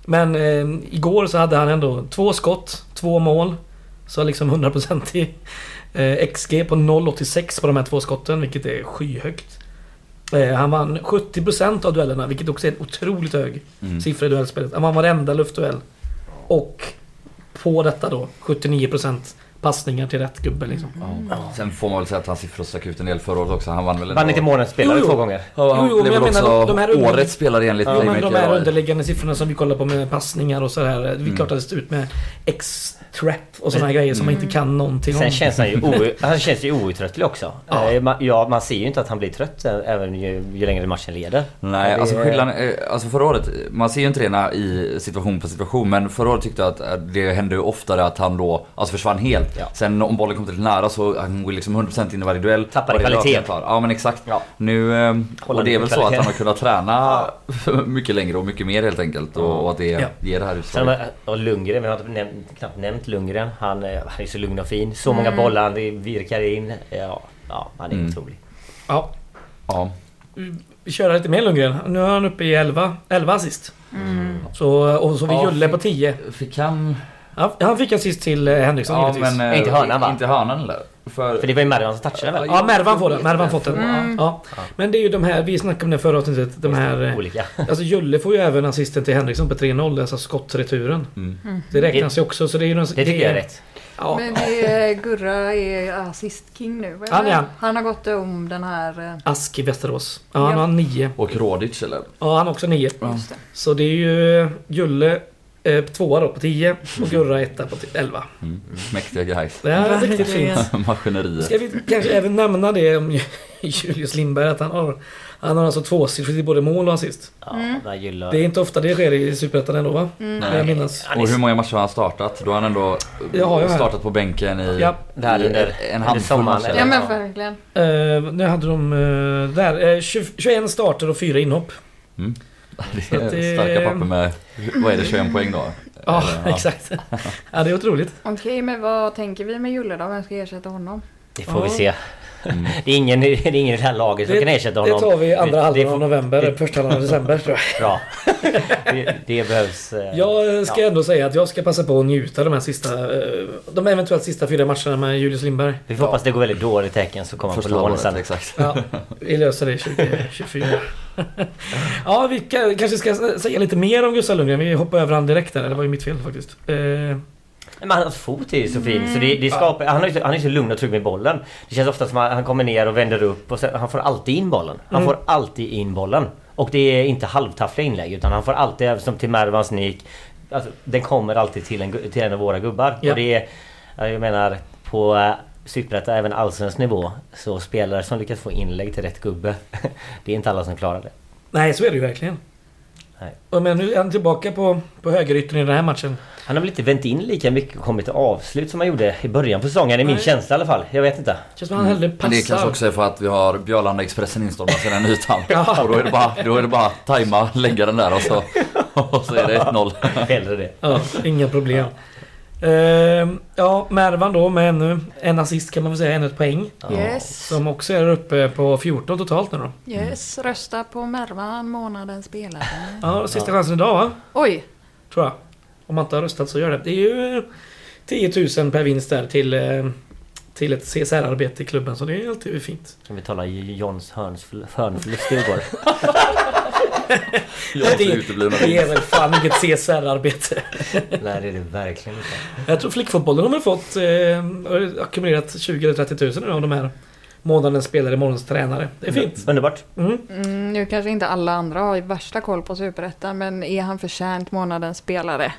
S1: Men eh, igår så hade han ändå två skott, två mål. Så liksom 100% i eh, XG på 0,86 på de här två skotten, vilket är skyhögt. Eh, han vann 70% av duellerna, vilket också är en otroligt hög
S2: Mm.
S1: siffra i duellspelet. Han vann varenda luftduell. Och på detta då 79% passningar till rätt gubbe liksom.
S2: Ja. Sen får man väl säga att hans siffror stack ut en del förra året också. Han vann väl ändå-
S3: Vann inte månens spelare
S1: Jo, jo.
S3: två gånger.
S2: Ja, han
S1: Jo, jo,
S2: blev
S1: men jag
S2: väl
S1: menar
S2: också
S1: de- de här under-
S2: årets spelare enligt
S1: Ja, men de
S2: Playmaker.
S1: här
S2: AI.
S1: underliggande siffrorna som vi kollar på med passningar och sådär. Det är klart att det står ut med X-trap och sådana här grejer som man
S4: mm.
S1: inte kan någonting om.
S3: Sen känns han ju, o- han känns ju outtröttlig också.
S1: Ja.
S3: Eh, ma- Ja, man ser ju inte att han blir trött eh, även ju, ju längre matchen leder.
S2: Nej,
S3: Det-
S2: alltså skillnaden, eh, alltså förra året, man ser ju inte det när- i situation på situation men förra året tyckte jag att eh, det hände ju oftare att han då alltså försvann helt.
S3: Ja.
S2: Sen om bollen kom till nära så han går liksom 100% in i varje duell.
S3: Tappade
S2: Och det är
S3: kvalitet.
S2: löpningar kvar. Ja men exakt.
S3: Ja.
S2: Nu, eh, och det är väl så att
S3: kvalitet.
S2: han har kunnat träna mycket längre och mycket mer helt enkelt och, och att det
S1: Ja.
S2: ger det här
S3: Sen,
S2: utslaget.
S3: har- och Lundgren, vi har inte nämnt, knappt nämnt Lundgren. Han, eh, han är så lugn och fin. Så många bollar, han virkar in. Ja, ja han är
S2: Mm.
S3: otrolig.
S1: Ja,
S2: Ja.
S1: vi kör lite mer Lundgren. Nu är han uppe i 11, 11 assist.
S4: Mm.
S1: Så, eh, och så vi
S2: Ja,
S1: Julle
S2: fint.
S1: på 10.
S2: Fick han...
S1: Ja, han fick assist till eh, Henriksson
S2: Ja,
S1: givetvis.
S2: men, eh,
S3: Inte hörnan, va?
S2: Inte hörnan eller? För,
S3: För det var ju Mervan som touchade väl?
S1: Ja, Mervan får den. Mervan fått den.
S4: Mm.
S1: Ja. Men det är ju de här, vi snackade om det förra avsnittet. De här... eh,
S3: Olika.
S1: Alltså Julle får ju även assisten till Henriksson på 3-0, alltså skottreturen.
S2: Mm.
S1: Det räknas ju också så det är ju... någon-
S3: Det tycker jag är rätt.
S1: Ja,
S4: Men det är, Gurra är assist-king nu. eller?
S1: Han är han.
S4: han har gått om den här... eh,
S1: Ask i Västerås. Ja, han
S4: Ja.
S1: har 9.
S2: och Rodic eller?
S1: Ja, han har också 9.
S4: Just det.
S1: Så det är ju Julle eh, tvåa då på 10 och Gurra etta på 11.
S2: Mm. Mäktiga guys.
S1: Det är riktigt fint.
S2: Maskineriet.
S1: Ska vi kanske även nämna det om Julius Lindberg att han har, han har alltså tvåsiffrigt i både mål och assist.
S3: Ja, där gillar-
S1: Det är inte ofta det sker i Superettan ändå va?
S4: Mm.
S1: Vill Jag minnas.
S3: Han är
S2: Och hur många matcher har han startat? Då har han ändå
S1: Jag har ju här.
S2: startat på bänken i,
S1: Ja.
S3: Det här
S2: i
S3: under-
S2: en
S3: under
S2: handfull
S3: sommaren,
S2: matcher.
S3: eller?
S4: Ja men verkligen.
S1: Eh, nu hade de eh, där eh, 20, 21 starter och 4 inhopp.
S2: Det
S1: Så att
S2: är
S1: det-
S2: starka papper med, vad är det, 21 poäng då?
S1: Ja,
S2: Eller,
S1: exakt. Ja, det är otroligt.
S4: Okej men vad tänker vi med Julle då? Vem ska ersätta honom?
S3: Det får vi se. Det är ingen, det är ingen i det här laget som
S1: Mm. Det-
S3: kan ersätta
S1: Det
S3: honom.
S1: tar vi andra
S3: Det-
S1: halvan
S3: det
S1: av
S3: får-
S1: november,
S3: det-
S1: första halvan av december tror jag.
S3: Bra. Det, det behövs... eh,
S1: Jag ska
S3: ja.
S1: ändå säga att jag ska passa på att njuta av de här sista, eh, de eventuellt sista fyra matcherna med Julius Lindberg.
S3: Vi får hoppas det går väldigt dåligt tecken så kommer han på
S2: Första
S3: lån
S2: året,
S3: sen.
S2: exakt.
S1: Ja, vi löser det 2024. ja, vi ka- kanske ska säga lite mer om Gustav Lundgren. Vi hoppar över han direkt där. Det var ju mitt fel faktiskt. Eh,
S3: Men hans fot är ju så fin så det, det skapar, han, är, ju så- han är så lugn och trygg med bollen. Det känns ofta som att han kommer ner och vänder upp och sen, han får alltid in bollen. Han
S1: Mm.
S3: får alltid in bollen. Och det är inte halvtaffliga inlägg utan han får alltid, även som till Mervans nick. Alltså, den kommer alltid till en, gu- till en av våra gubbar.
S1: Ja.
S3: Och det är, ja, jag menar på eh, Superettan, även allsvensk nivå, så spelare som lyckas få inlägg till rätt gubbe. det är inte alla som klarar det.
S1: nej, så är det ju verkligen.
S3: Nej.
S1: Och Men nu är han tillbaka på, på högeryttern i den här matchen.
S3: Han har väl inte vänt in lika mycket och kommit till avslut som han gjorde i början på säsongen i min
S1: Nej.
S3: känsla i alla fall. Jag vet inte.
S1: Känns som han hellre
S2: Mm. Men det kanske
S1: passar.
S2: också är för att vi har Björlanda Expressen instormad sedan en nytamp.
S1: Ja.
S2: Och då är det bara, då är det bara att tajma, lägga den där och så, och så är det 1-0.
S3: Hellre det.
S1: Ja, inga problem. Eh, ja, Mervan då med ännu en assist kan man väl säga, ännu ett poäng.
S4: Yes.
S1: Som också är uppe på 14 totalt nu då.
S4: Yes, rösta på Mervan, månadens spelare.
S1: Ja, sista chansen idag va?
S4: Oj!
S1: Tror jag. Om man inte har röstat så gör det. Det är ju eh, 10 000 per vinst där till, eh, till ett CSR-arbete i klubben så det är alltid fint.
S3: Kan vi tala Johns hörnfl- hörnflykt igår?
S2: Jag är uteblivna
S1: Det är väl fan inget CSR-arbete.
S3: Nej det är det verkligen inte.
S1: Jag tror flickfotbollen har väl fått eh, har ackumulerat 20 eller 30 000 av de här månadens spelare, morgons tränare. Det är fint.
S3: Underbart.
S1: Mm.
S5: Mm, nu kanske inte alla andra har värsta koll på Superettan men är han förtjänt månadens spelare?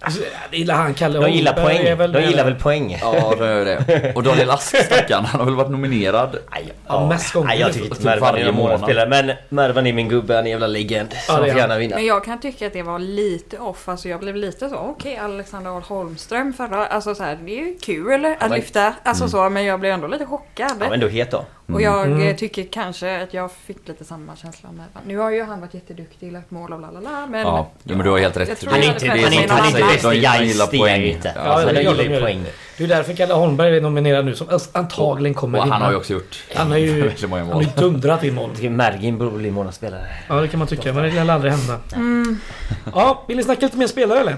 S1: Alltså, det gillar han, Kalle
S3: De gillar
S1: Holmberg är
S3: poäng. De
S1: med
S3: gillar
S1: där.
S3: väl poäng.
S2: Ja, det är det. Och Daniel Ask stackarn, han har väl varit nominerad.
S3: Aj,
S1: Ja, mest gånger.
S3: Nej, jag tycker inte
S2: Typ
S3: Mervan
S2: varje
S3: är en
S2: månad.
S3: månadsspelare. Men Mervan är min gubbe, han är en jävla legend.
S1: Ja, det
S3: Så han
S1: är
S3: får
S1: han.
S3: gärna vinna.
S5: Men jag kan tycka att det var lite off. Alltså jag blev lite så, okej Alexander Ahl Holmström förra... Alltså så här, det är ju kul att
S3: men-
S5: lyfta. Alltså så, men jag blev ändå lite chockad.
S3: Ja men då het då.
S5: Och jag
S1: Mm.
S5: eh, tycker kanske att jag fick lite samma känsla med Nu har ju han varit jätteduktig, lagt mål och bla bla bla. Men
S2: Ja, ja, men du har helt
S5: Jag
S2: rätt.
S5: tror
S3: Han är
S5: jag
S3: inte,
S5: hade
S3: han är inte,
S5: någon
S3: han är inte
S5: annan.
S3: bästa Geist, det är han ju inte.
S2: Ja,
S1: det
S3: men
S1: är
S3: de
S1: klart
S3: gillar
S1: de
S3: ju
S1: gör det.
S3: poäng.
S1: Det är därför Kalle Holmberg är nominerad nu som antagligen kommer
S2: Och han
S1: vinna.
S2: har ju också gjort
S1: Han har ju
S2: väldigt många
S1: han har
S2: mål.
S1: ju dundrat in mål.
S3: Jag tycker Mergin borde bli månadsspelare.
S1: Ja det kan man tycka, men det lär aldrig hända.
S5: Mm.
S1: Ja, vill ni snacka lite mer spelare eller?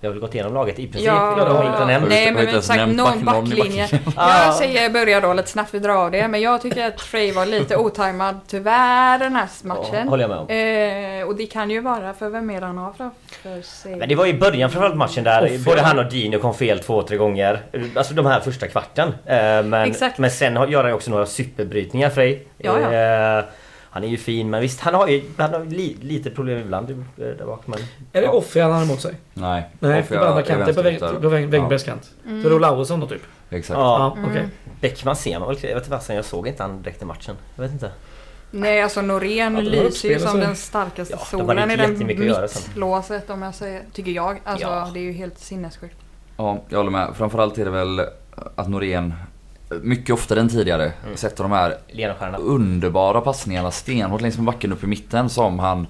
S3: Jag har väl gått igenom laget i princip.
S5: Ja,
S3: Jag har inte nämnt.
S5: nej
S2: Jag har inte
S5: men vi har
S2: ens
S5: sagt
S2: nämnt
S5: någon
S2: back- någon i
S5: backlinje.
S3: Ah.
S5: Jag säger börja då lite snabbt, vi drar av det. Men jag tycker att Frey var lite otajmad tyvärr den här
S3: Ja,
S5: matchen.
S3: håller jag med om.
S5: Eh, och det kan ju vara för vem är det han har framför sig?
S3: Men det var i början framförallt matchen där
S1: Off,
S3: både
S1: ja.
S3: han och Dino kom fel två, tre gånger. Alltså de här första kvarten. Eh, Men,
S5: Exakt.
S3: men sen har- gör han ju också några superbrytningar Frej.
S5: Ja, ja.
S3: Eh, Han är ju fin men visst han har ju han har ju li, lite problem ibland eh, där bak. Men,
S1: Är det
S3: ja.
S1: Offi han har emot sig?
S2: Nej,
S1: Nej,
S2: Offe
S1: på andra
S2: är
S1: kanten. På, väg,
S2: vänsterytter.
S1: på väg, Wängbergs kant.
S5: Mm.
S1: Så Rolf Lauesson då typ?
S2: Ja, exakt.
S3: Ja,
S1: Ja, okej.
S3: Bäckman ser man väl Jag vet inte fasen, jag såg inte han direkt i matchen. Jag vet inte.
S5: Nej alltså Norén
S1: Ja, det var
S5: lyser ju
S1: uppspel,
S5: som
S1: alltså.
S5: den starkaste
S3: Ja, de hade
S5: solen i
S3: inte
S5: den
S3: jättemycket att göra sen.
S5: mittlåset om jag säger, tycker jag. Alltså
S3: Ja.
S5: det är ju helt sinnessjukt.
S2: Ja, jag håller med. Framförallt är det väl att Norén mycket oftare än tidigare sätter de här
S3: Ledstjärna.
S2: underbara passningarna stenhårt längs med backen upp i mitten som han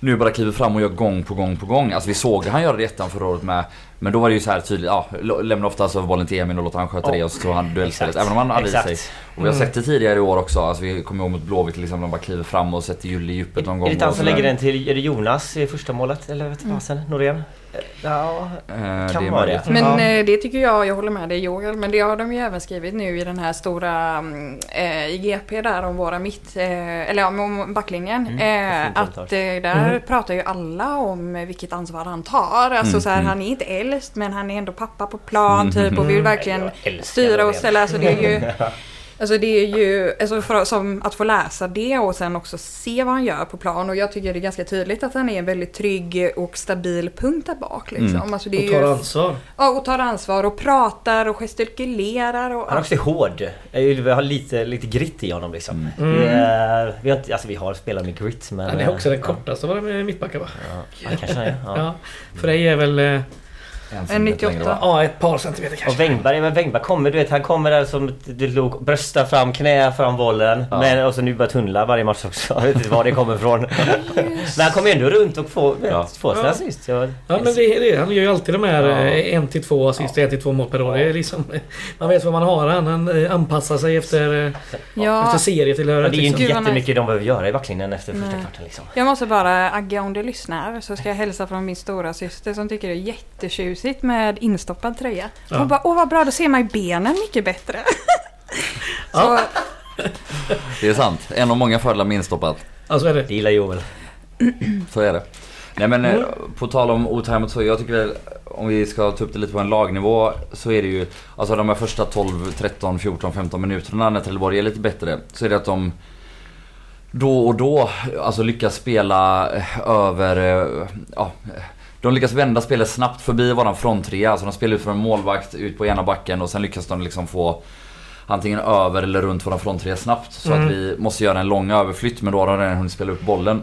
S2: nu bara kliver fram och gör gång på gång på gång. Alltså vi såg han göra det i ettan förra året med. Men då var det ju så här tydligt, ja, lo- lämna oftast över bollen till Emil och låt han sköta
S3: Ja.
S2: det och så tog han duellspelet.
S3: Exakt.
S2: Även om han hade i sig.
S3: Exakt. Mm.
S2: Och vi har sett det tidigare i år också. Alltså vi kommer ihåg mot Blåvitt till exempel, de bara kliver fram och sätter Julle i djupet någon
S3: Är
S2: gång.
S3: det inte han
S2: och
S3: som
S2: så där.
S3: lägger den till är det Jonas i första målet? Eller vet
S5: Mm.
S3: inte fasen, Norén? Eh, Ja,
S2: Eh,
S3: kan
S2: det är
S3: vara det.
S2: möjligt.
S5: Men
S3: ja.
S5: eh, det tycker jag, jag håller med dig Joel, men det har de ju även skrivit nu i den här stora mm, eh, i GP där om våra mitt, eh, eller ja, om- om backlinjen.
S3: Mm,
S5: eh,
S3: fint
S5: att
S3: kommentar.
S5: eh, där pratar ju alla om eh, vilket ansvar han tar. Alltså
S2: Mm,
S5: så här,
S2: mm.
S5: han är inte äldst men han är ändå pappa på plan typ och vill verkligen
S3: Jag älskar
S5: styra och
S3: Loreen.
S5: ställa. Alltså det är ju Alltså det är ju, alltså för, som att få läsa det och sen också se vad han gör på plan och jag tycker det är ganska tydligt att han är en väldigt trygg och stabil punkt där bak liksom. Alltså det är
S1: Och tar
S5: ju,
S1: ansvar.
S5: Ja, och tar ansvar och pratar och gestikulerar och...
S3: Han är också hård. Jag vill ha lite, lite grit i honom liksom. Det är- Vi, har inte, alltså, vi har spelare med grit men...
S1: Mm. Han är också den kortaste av de mittbackar va?
S3: Ja, han kanske han är. Ja.
S1: Ja. För dig är väl... eh,
S5: En
S2: som lite längre
S5: 98.
S2: va?
S1: Ja, ett par centimeter
S3: Och
S1: kanske.
S3: Wängberg, men Wängberg kommer, du vet han kommer där som du låg, bröstar fram, knä fram bollen.
S2: Ja.
S3: Men och så nu börjar tunnla varje match också. Jag vet inte var det kommer ifrån. men han kommer ju ändå runt och får,
S2: Ja.
S3: ja. får sina
S1: Ja.
S3: assist. Jag,
S1: Ja men det, är det, han gör ju alltid de här
S3: Ja.
S1: eh, en till två assist, en till två mål per år. Det är liksom, man vet vad man har han. Han eh, anpassar sig efter, eh, efter
S5: Ja,
S3: Men
S1: serietillhöret.
S3: det är ju
S1: Liksom.
S3: inte
S5: Gud, vad
S3: jättemycket de behöver göra i backlinjen efter första kvarten liksom.
S5: jag måste bara, Agge om du lyssnar så ska jag hälsa från min stora syster som tycker det är jättetjusigt med instoppad tröja. Hon
S1: Ja.
S5: bara, åh vad bra, då ser man ju benen mycket bättre. så,
S1: Ja.
S2: Det är sant. En av många fördelar med instoppat.
S1: Alltså är det.
S3: Det gillar Joel.
S2: Så är det. Nej men eh, på tal om otajmat så, jag tycker väl om vi ska ta upp det lite på en lagnivå så är det ju Alltså de här första 12, 13, 14, 15 minuterna när Trelleborg är lite bättre så är det att de då och då alltså lyckas spela eh, över, eh, ja, eh, de lyckas vända spelet snabbt förbi våran fronttrea. Alltså de spelar ut från en målvakt ut på ena backen och sen lyckas de liksom få antingen över eller runt våran fronttrea snabbt. Så
S1: Mm.
S2: att vi måste göra en lång överflytt men då har de redan hunnit spela upp bollen.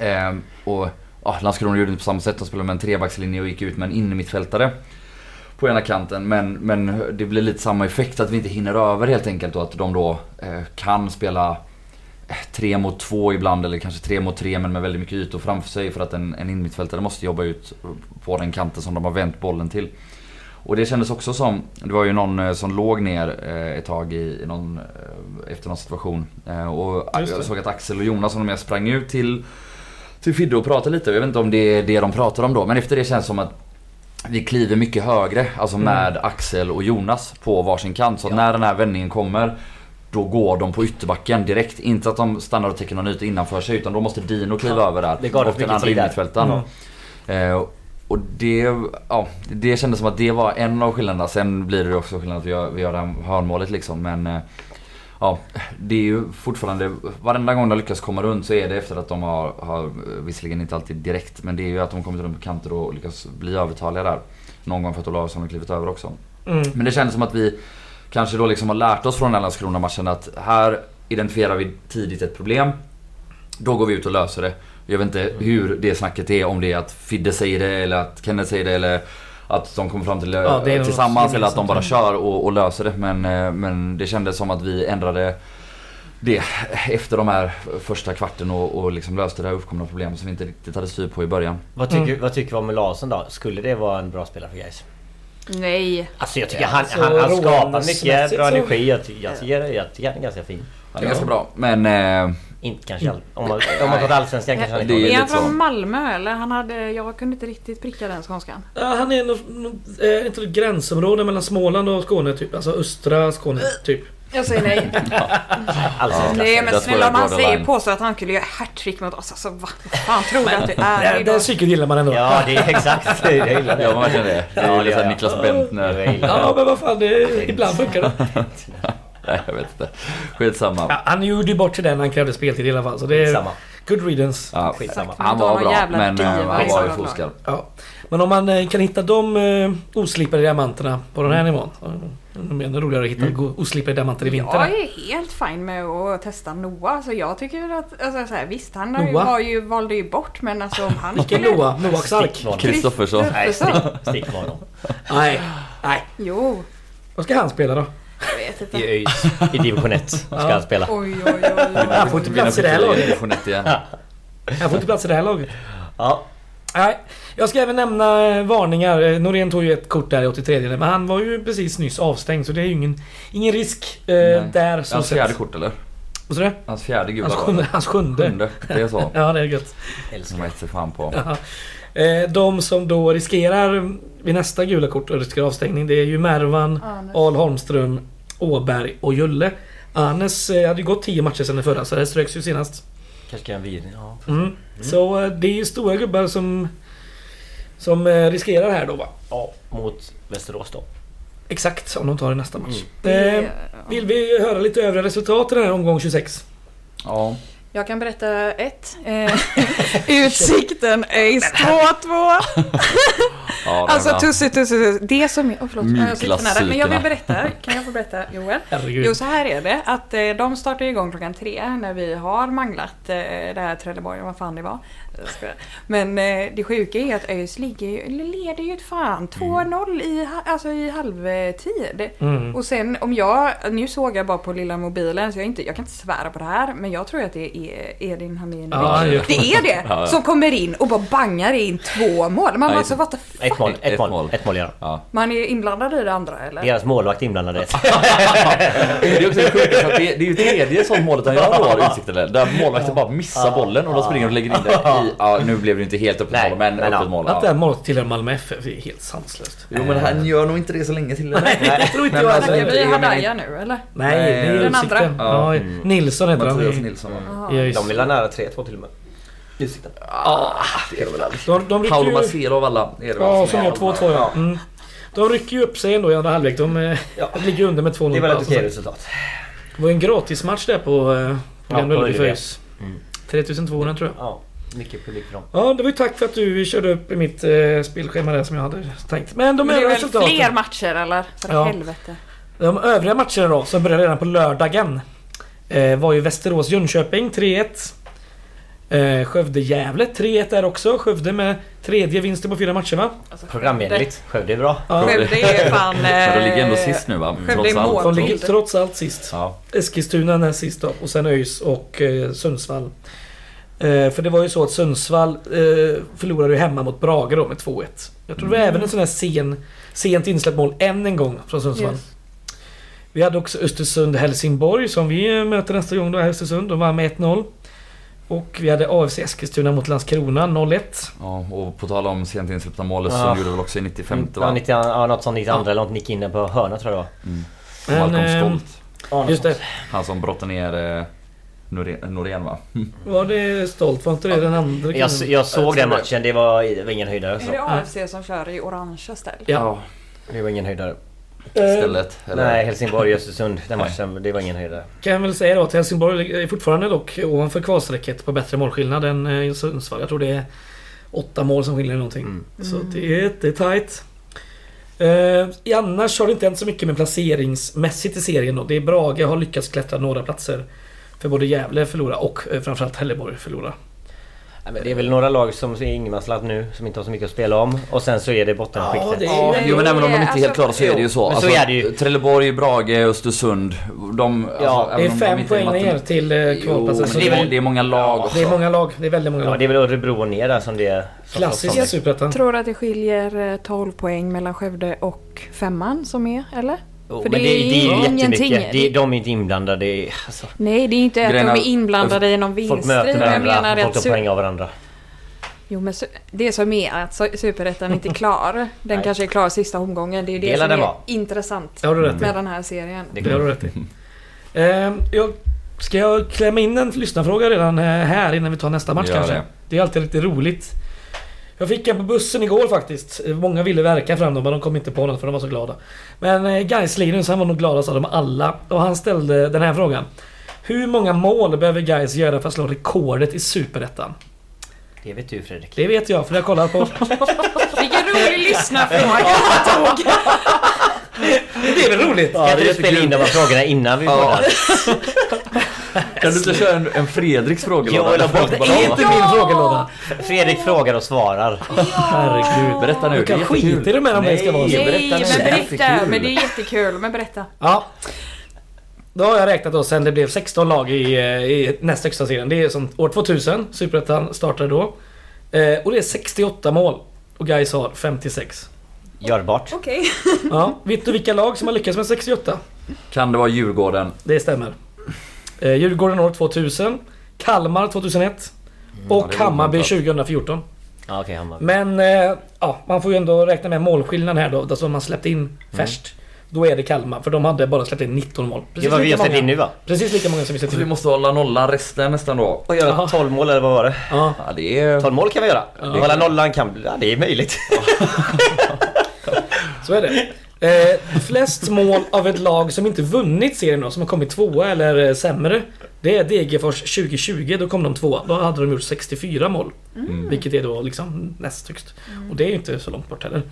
S2: Ehm, och ja, Landskrona gjorde inte på samma sätt. De spelade med en trebackslinje och gick ut med en innermittfältare. På ena kanten men, men det blir lite samma effekt att vi inte hinner över helt enkelt och att de då eh, kan spela eh, tre mot två ibland eller kanske tre mot tre men med väldigt mycket ytor framför sig för att en, en innermittfältare måste jobba ut på den kanten som de har vänt bollen till. Och det kändes också som, det var ju någon eh, som låg ner eh, ett tag i, i någon, eh, efter någon situation. Eh, Och
S1: Just det.
S2: jag såg att Axel och Jonas som de med sprang ut till, till Fidde och pratade lite. Jag vet inte om det är det de pratade om då men efter det känns det som att vi kliver mycket högre,
S3: Mm.
S2: alltså med Axel och Jonas på varsin kant. Så att när den här vändningen kommer då går de på ytterbacken direkt. Inte att de stannar och täcker någon yta innanför sig utan då måste Dino kliva över där.
S3: det gav dem
S2: och
S3: för
S2: den
S3: mycket
S2: andra
S3: tid där.
S2: innermittfältaren. Eh, och det, ja, det kändes som att det var en av skillnaderna. Sen blir det också skillnad att vi gör, vi gör det här hörnmålet liksom. Men eh, ja, det är ju fortfarande, varenda gång de lyckas komma runt så är det efter att de har, har eh, visserligen inte alltid direkt, men det är ju att de kommit runt på kanter och lyckas bli övertaliga där. Någon gång för att Olausson har klivit över också.
S1: Mm.
S2: Men det kändes som att vi kanske då liksom har lärt oss från den här Landskrona-matchen att här identifierar vi tidigt ett problem. Då går vi ut och löser det. Jag vet
S1: Mm.
S2: inte hur det snacket är, om det är att Fidde säger det eller att Kenneth säger det eller att de kommer fram till eh,
S1: Ja, det är nog något
S2: tillsammans eller att de bara
S1: gemensamt.
S2: kör och, och löser det. Men, eh, men det kändes som att vi ändrade det efter de här första kvarten och, och liksom löste det här uppkomna problemet som vi inte riktigt hade styr på i början.
S3: Vad tycker,
S1: Mm.
S3: vad tycker vi om Larsson då? Skulle det vara en bra spelare för Gais?
S4: Nej.
S3: Alltså jag tycker
S1: Ja,
S3: han,
S1: alltså,
S3: han, han skapar mycket
S1: roandes-mässigt
S3: bra
S1: så-
S3: energi. Jag tycker, jag tycker, jag tycker han är ganska fin.
S2: Det är ganska bra men... Eh,
S3: Inte kanske all, om man, om man pratar allsvenskan kanske han
S2: Det
S3: inte
S2: är
S4: Är,
S3: håller.
S2: lite
S4: han från
S2: så.
S4: Malmö eller? Han hade, jag kunde inte riktigt pricka den skånskan.
S1: Ja, han är nog, nog- är inte det gränsområde mellan Småland och Skåne typ. Alltså östra Skåne typ.
S4: Jag säger nej.
S3: allsvenskan.
S4: nej
S2: Jag
S4: men
S2: tror
S4: snälla
S2: jag
S4: om han
S2: borderline.
S4: säger påstår att han skulle göra hattrick mot oss. Alltså vad fan tror du att du är?
S1: Den,
S4: Det
S1: den
S4: är
S1: cykeln gillar man ändå. Ja.
S3: Ja det är exakt. Det Jag gillar det.
S2: Ja, man verkligen det. Det är
S3: Ja,
S2: ju lite
S3: det gör
S2: såhär
S3: jag.
S2: Niklas Bentner.
S3: Jag gillar det.
S1: men vad fan, det, ibland funkar det.
S2: Nej, jag vet inte. Skitsamma.
S1: Ja, han gjorde ju bort sig den han krävde speltid i alla fall. Så det är
S3: Samma.
S1: good riddance.
S2: Ja,
S3: Skitsamma.
S2: han var bra, men eh, han var ju foskarp.
S1: Ja. Men om man eh, kan hitta de eh, oslipade diamanterna på den här nivån. ja, De är ännu roligare att hitta go- oslipade diamanter i vinter.
S4: Jag är helt fin med att testa Noah så jag tycker väl att, alltså, så här, visst han har ju,
S1: Noah?
S4: var ju, valde ju bort men alltså om han
S1: Vilken Noah? Noah Sark?
S3: Stickvarning.
S2: Kristoffersson.
S3: Nej stick- stickvarning.
S1: Nej. Nej.
S4: Jo,
S1: Vad ska han spela då?
S4: jag vet inte.
S3: I ÖIS. I division 1 ska han spela.
S4: Oj oj oj.
S1: Han får inte plats i det här laget.
S2: Division 1 igen.
S1: Han får inte plats i det här laget.
S3: Ja.
S1: Nej, jag ska även nämna eh, varningar. Eh, Norén tog ju ett kort där i 83 men han var ju precis nyss avstängd så det är ju ingen, ingen risk eh,
S2: Nej.
S1: där. Så
S2: Hans
S1: sett.
S2: fjärde kort eller?
S1: Vad sa du?
S2: Hans fjärde gula
S1: Hans
S2: var
S1: sjunde.
S2: det.
S1: Hans sjunde.
S2: Sjunde. Det är så.
S1: Ja, det är gött.
S2: Som jag inte ser fan på.
S1: Ja. Eh, De som då riskerar vid nästa gula kort och riskerar avstängning det är ju Mervan,
S4: Anes.
S1: Al Holmström, Åberg och Julle. Anes eh, hade ju gått 10 matcher sedan den förra så det ströks ju senast.
S3: Kanske kan vi... Ja.
S1: Mm. Så eh, det är ju stora gubbar som, som eh, riskerar här då va?
S3: ja. Mot Västerås då.
S1: Exakt om de tar det nästa match.
S4: Det-
S1: Eh, vill vi höra lite övriga resultat i den här omgång 26?
S2: Ja.
S4: Jag kan berätta ett. Eh, utsikten är 2-2.
S2: ja det
S4: Alltså
S2: var-
S4: tussi tussi tussi. Det som är... Åh förlåt. Jag sitter för nära. Men jag vill
S2: Myglassykorna.
S4: berätta. Kan jag få berätta Joel?
S1: Herregud.
S4: Jo så här är det att eh, de startar igång klockan tre när vi har manglat eh, det här Trelleborg, vad fan det var. Jag skojar. Men eh, det sjuka är att ÖIS ligger ju, eller leder ju ett fan 2-0 i, ha- alltså i halvtid.
S1: Mm.
S4: Och sen om jag, nu såg jag bara på lilla mobilen så jag, inte, jag kan inte svära på det här men jag tror att det är Edin Hamid.
S1: Ja, han gör-
S4: det är det!
S2: Ja, ja.
S4: Som kommer in och bara bangar in två mål.
S2: Ja,
S4: Man bara
S2: just
S4: så
S2: det.
S4: what the fuck?
S3: Ett mål. Ett,
S2: Ett
S3: mål.
S2: mål.
S3: Ett mål gör han.
S2: Ja.
S4: Man är inblandad i det andra eller?
S3: Deras målvakt inblandad i ett.
S2: Det är också det sjukaste att det, det är ju tredje sånt målet han gör då, har Utsikten. eller? Där målvakten bara missar bollen och de springer och lägger in den i... Ja, nu blev det inte helt öppet
S3: Nej,
S2: mål, men
S3: men ja.
S2: öppet mål.
S1: Att det
S2: Ja.
S1: här målet tillhör Malmö FF är helt sanslöst.
S2: Jo men han gör nog inte det så länge till.
S1: Nej, det tror inte
S2: Men
S1: jag
S2: alltså,
S1: heller.
S4: Snackar vi
S2: det är-
S4: Hadaya nu eller?
S1: Nej, det är
S2: Den
S4: andra.
S1: Utsikten. Ja,
S2: Ja.
S1: Nilsson heter han.
S2: Mattias
S1: i-
S2: Nilsson.
S1: i ÖIS.
S3: De vill ha nära 3-2 till och med. Utsikten.
S2: Det är det väl aldrig.
S1: De, de rycker
S2: Paolo
S1: ju upp,
S2: Macero av alla är det väl
S1: ja, som
S2: är
S1: gör 2-2 ja. Mm. De rycker ju upp sig ändå i andra halvlek. De eh,
S3: Ja.
S1: ligger under med 2-0.
S3: Det var
S1: Ja,
S3: ett
S1: som
S3: okej
S1: sagt.
S3: resultat.
S1: Det var en gratismatch där på eh,
S3: Ja,
S1: Glenn
S3: på
S1: Ullevi för
S3: Ullevi.
S1: ÖIS. 3200 tror jag.
S3: Ja, mycket publik för dem.
S1: Ja, det var ju tack för att du körde upp i mitt eh, spelschema där som jag hade tänkt. Men de
S4: Men det är
S1: övriga
S4: väl
S1: resultaten.
S4: fler matcher eller? För
S1: Ja.
S4: helvete.
S1: De övriga matcherna då, som började redan på lördagen. Eh, var ju Västerås-Jönköping 3-1. Eh, Skövde-Gävle 3-1 där också. Skövde med tredje vinsten på fyra matcher va?
S4: Alltså,
S3: Programenligt. Skövde är bra.
S1: Ja.
S4: Skövde är fan...
S2: Men de ligger ändå
S4: eh,
S2: sist nu va?
S4: Skövde
S2: Trots
S4: är
S2: allt.
S4: mål.
S1: De
S4: Trots-
S1: ligger trots allt sist.
S2: Ja.
S1: Eskilstuna näst sist då och sen ÖIS och eh, Sundsvall. Eh, för det var ju så att Sundsvall eh, förlorade ju hemma mot Brage då med 2-1. Jag tror det var även en sån här sen, sent insläppt mål än en gång från Sundsvall.
S4: Yes.
S1: Vi hade också Östersund-Helsingborg som vi eh, möter nästa gång då, Östersund. De vann med 1-0. Och vi hade AFC Eskilstuna mot Landskrona 0-1.
S2: Ja, och på tal om sent insläppta mål så
S3: Ja.
S2: gjorde väl också i 95
S3: Ja,
S2: va?
S3: 90, ja, något sånt 92 eller något nick inne på hörna tror jag det
S2: Och Malcolm
S1: Men, ehm,
S2: Stolt.
S3: var.
S1: Just det.
S2: Han som brottade ner eh, Norén, Norén va?
S1: Var det Stolt? Var inte det den andra
S3: Jag,
S1: killen?
S3: jag såg den
S2: det.
S3: matchen, det var, det var ingen höjdare.
S2: alltså.
S4: Är
S3: Så.
S4: det AFC som kör i orangea ställ?
S1: Ja. Eh,
S3: Det var ingen höjdare.
S2: Stället. Eller?
S3: Nej, Helsingborg-Östersund, den matchen, det var ingen höjdare.
S1: Kan jag väl säga då att Helsingborg är fortfarande dock ovanför kvalstrecket på bättre målskillnad än eh, Sundsvall. Jag tror det är åtta mål som skiljer eller någonting.
S3: Mm.
S1: Så det är, det är tajt. Eh, i annars har det inte hänt så mycket med placeringsmässigt i serien då. Det är Brage har lyckats klättra några platser. För både Gävle förlora och eh, framförallt Helleborg förlora.
S3: Nej, men det är väl några lag som är ingenmansland nu, som inte har så mycket att spela om. Och sen så är det bottenskiktet.
S1: Ja, det är-
S2: Ja,
S4: Nej,
S2: jo men även om de inte är
S4: alltså-
S2: helt klara så är det ju så. Alltså,
S3: Men så är det ju.
S2: Trelleborg, Brage, Östersund. De, alltså,
S3: Ja,
S1: Det är
S2: även om de
S1: fem
S2: inte är
S1: poäng
S2: matte-
S1: ner till eh,
S2: Jo, men
S1: kvalplatsen. Så
S2: det, är, må- det är många lag också.
S1: det är många lag. Det är väldigt många
S3: Ja,
S1: lag.
S3: det är väl Örebro och ner där som det är... som-
S1: Klassiska
S3: som-
S1: Superettan.
S4: Jag tror att det skiljer eh, 12 poäng mellan Skövde och femman som är, eller?
S3: Jo,
S4: För
S3: men
S4: det
S3: det,
S4: är
S3: är- det är ju
S4: ingenting.
S3: jättemycket. Det, de är inte inblandade. i- Alltså,
S4: Nej, det är inte att
S2: Grejen
S4: de
S2: är-
S4: är inblandade i någon
S3: folk
S4: vinststrid.
S3: möter
S4: Jag menar
S3: varandra,
S4: att
S3: folk tar
S4: su-
S3: poäng av varandra.
S4: Jo, men su- det som är att su- superettan inte är klar. Den
S3: Nej.
S4: kanske är klar sista omgången. Det är ju det
S3: Det lär
S4: som
S3: den
S4: är
S3: vara.
S4: intressant
S1: Det har du rätt i.
S4: med den här serien.
S3: Det
S1: Det har du rätt i. Ehm, jag, ska jag klämma in en lyssnarfråga redan eh, här innan vi tar nästa match
S2: Gör
S1: kanske? Det.
S2: det.
S1: är alltid lite roligt. Jag fick en på bussen igår faktiskt. Eh, Många ville verka fram dem men de kom inte på något för de var så glada. Men eh, Gais Linus han var nog gladast av dem alla och han ställde den här frågan. Hur många mål behöver Gais göra för att slå rekordet i Superettan?
S3: Det vet du Fredrik.
S1: Det vet jag för jag har kollat på...
S4: Vilken rolig lyssnarfråga!
S1: det är väl roligt?
S3: Kan inte
S2: det
S3: du
S2: är
S3: spela in de här frågorna innan vi
S2: Ja.
S3: poddar?
S2: Kan du inte köra en, en Fredriks
S3: Jag vill
S2: frågelåda?
S3: ha bort
S1: Det är inte min frågelåda.
S3: Fredrik frågar och svarar.
S1: Herregud.
S2: Berätta nu,
S1: Du
S2: det är
S1: kan skita i
S2: jättekul.
S1: de här om det ska vara så.
S2: Nej,
S4: Nej, men
S2: berätta nu.
S4: berätta!
S2: Jättekul.
S4: Men det är jättekul. Men berätta.
S1: Ja. Då har jag räknat då sen det blev 16 lag i, eh, i näst högsta serien. Det är som år 2000, Superettan startade då. Eh, och det är 68 mål. Och Gais har 56.
S3: Görbart.
S4: Okej.
S1: Ja, vet du vilka lag som har lyckats med 68?
S2: Kan det vara Djurgården?
S1: Det stämmer. Eh, Djurgården år 2000. Kalmar 2001.
S2: ja,
S1: Och
S2: Mm, det var
S1: Hammarby
S2: oväntat.
S1: 2014.
S3: Ja, okej, Hammar.
S1: Men eh, ja, man får ju ändå räkna med målskillnaden här då. Alltså om man släppt
S2: Mm.
S1: in färskt. Då är det Kalmar, för de hade bara släppt in 19 mål.
S3: Det var vi
S1: lika
S3: har släppt
S1: många-
S3: in nu va?
S1: Precis lika många som vi släppte
S2: Så vi
S1: in.
S2: måste hålla nollan resten nästan då.
S1: Jaha.
S3: Och göra 12 mål eller vad var det?
S1: Ja.
S2: Ja, det är...
S3: 12 mål kan vi göra. Hålla nollan kan bli... Ja, det är möjligt.
S1: Så är det. Eh, flest mål av ett lag som inte vunnit serien då, som har kommit tvåa eller eh, sämre. Det är Degerfors 2020, då kom de tvåa. Då hade de gjort 64 mål. Vilket är då liksom näst högst. Och det är ju inte så långt bort heller.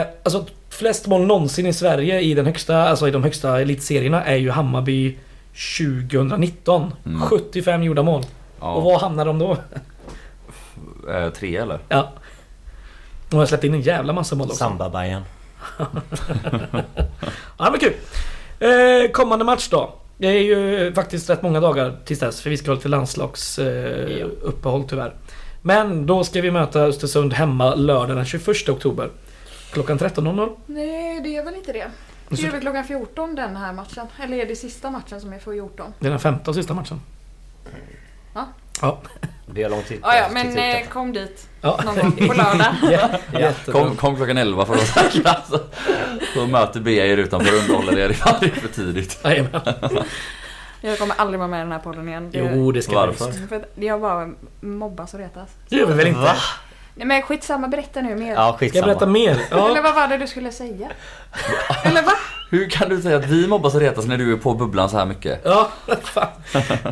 S1: Eh, alltså flest mål någonsin i Sverige i den högsta, alltså i de högsta elitserierna är ju Hammarby 2019. 75 gjorda mål. Och
S2: Ja,
S1: var hamnar de då?
S2: eh, tre eller?
S1: Ja. De har släppt in en jävla massa mål också.
S3: samba Bayern.
S1: Ja, men kul. Eh, kommande match då. Det är ju faktiskt rätt många dagar tills dess för vi ska ha lite landslagsuppehåll eh,
S3: Ja.
S1: uppehåll tyvärr. Men då ska vi möta Östersund hemma lördagen den 21 oktober. Klockan 13.00.
S4: Nej, det är väl inte det.
S1: Alltså-
S4: Det är väl klockan 14 den här matchen. Eller är det sista matchen som är för 14?
S1: Det är den femte och sista matchen.
S4: Ja.
S1: Ja.
S3: Vi har lång tid
S4: Ja, ja,
S2: Typ,
S4: men
S3: tid
S4: eh,
S3: ut.
S4: kom dit
S1: ja.
S4: någon gång på lördag.
S1: ja. jättebra.
S2: Kom, kom klockan 11 för att säkra. alltså. Så möter BA er utanför och underhåller er ifall det är för tidigt.
S1: Jajamän.
S4: Jag kommer aldrig vara med i den här podden igen. Det-
S1: Jo, det ska vi
S2: Varför?
S4: För att jag bara mobbas och retas.
S1: Det gör vi väl inte?
S3: Va?
S4: Nej men skitsamma, berätta nu mer.
S3: Ja,
S1: Ska jag
S3: skitsamma.
S1: berätta mer?
S4: Eller
S1: Ja.
S4: vad var det du skulle säga? Eller va?
S2: Hur kan du säga att vi mobbas och retas när du är på bubblan så här mycket?
S1: Ja, fan.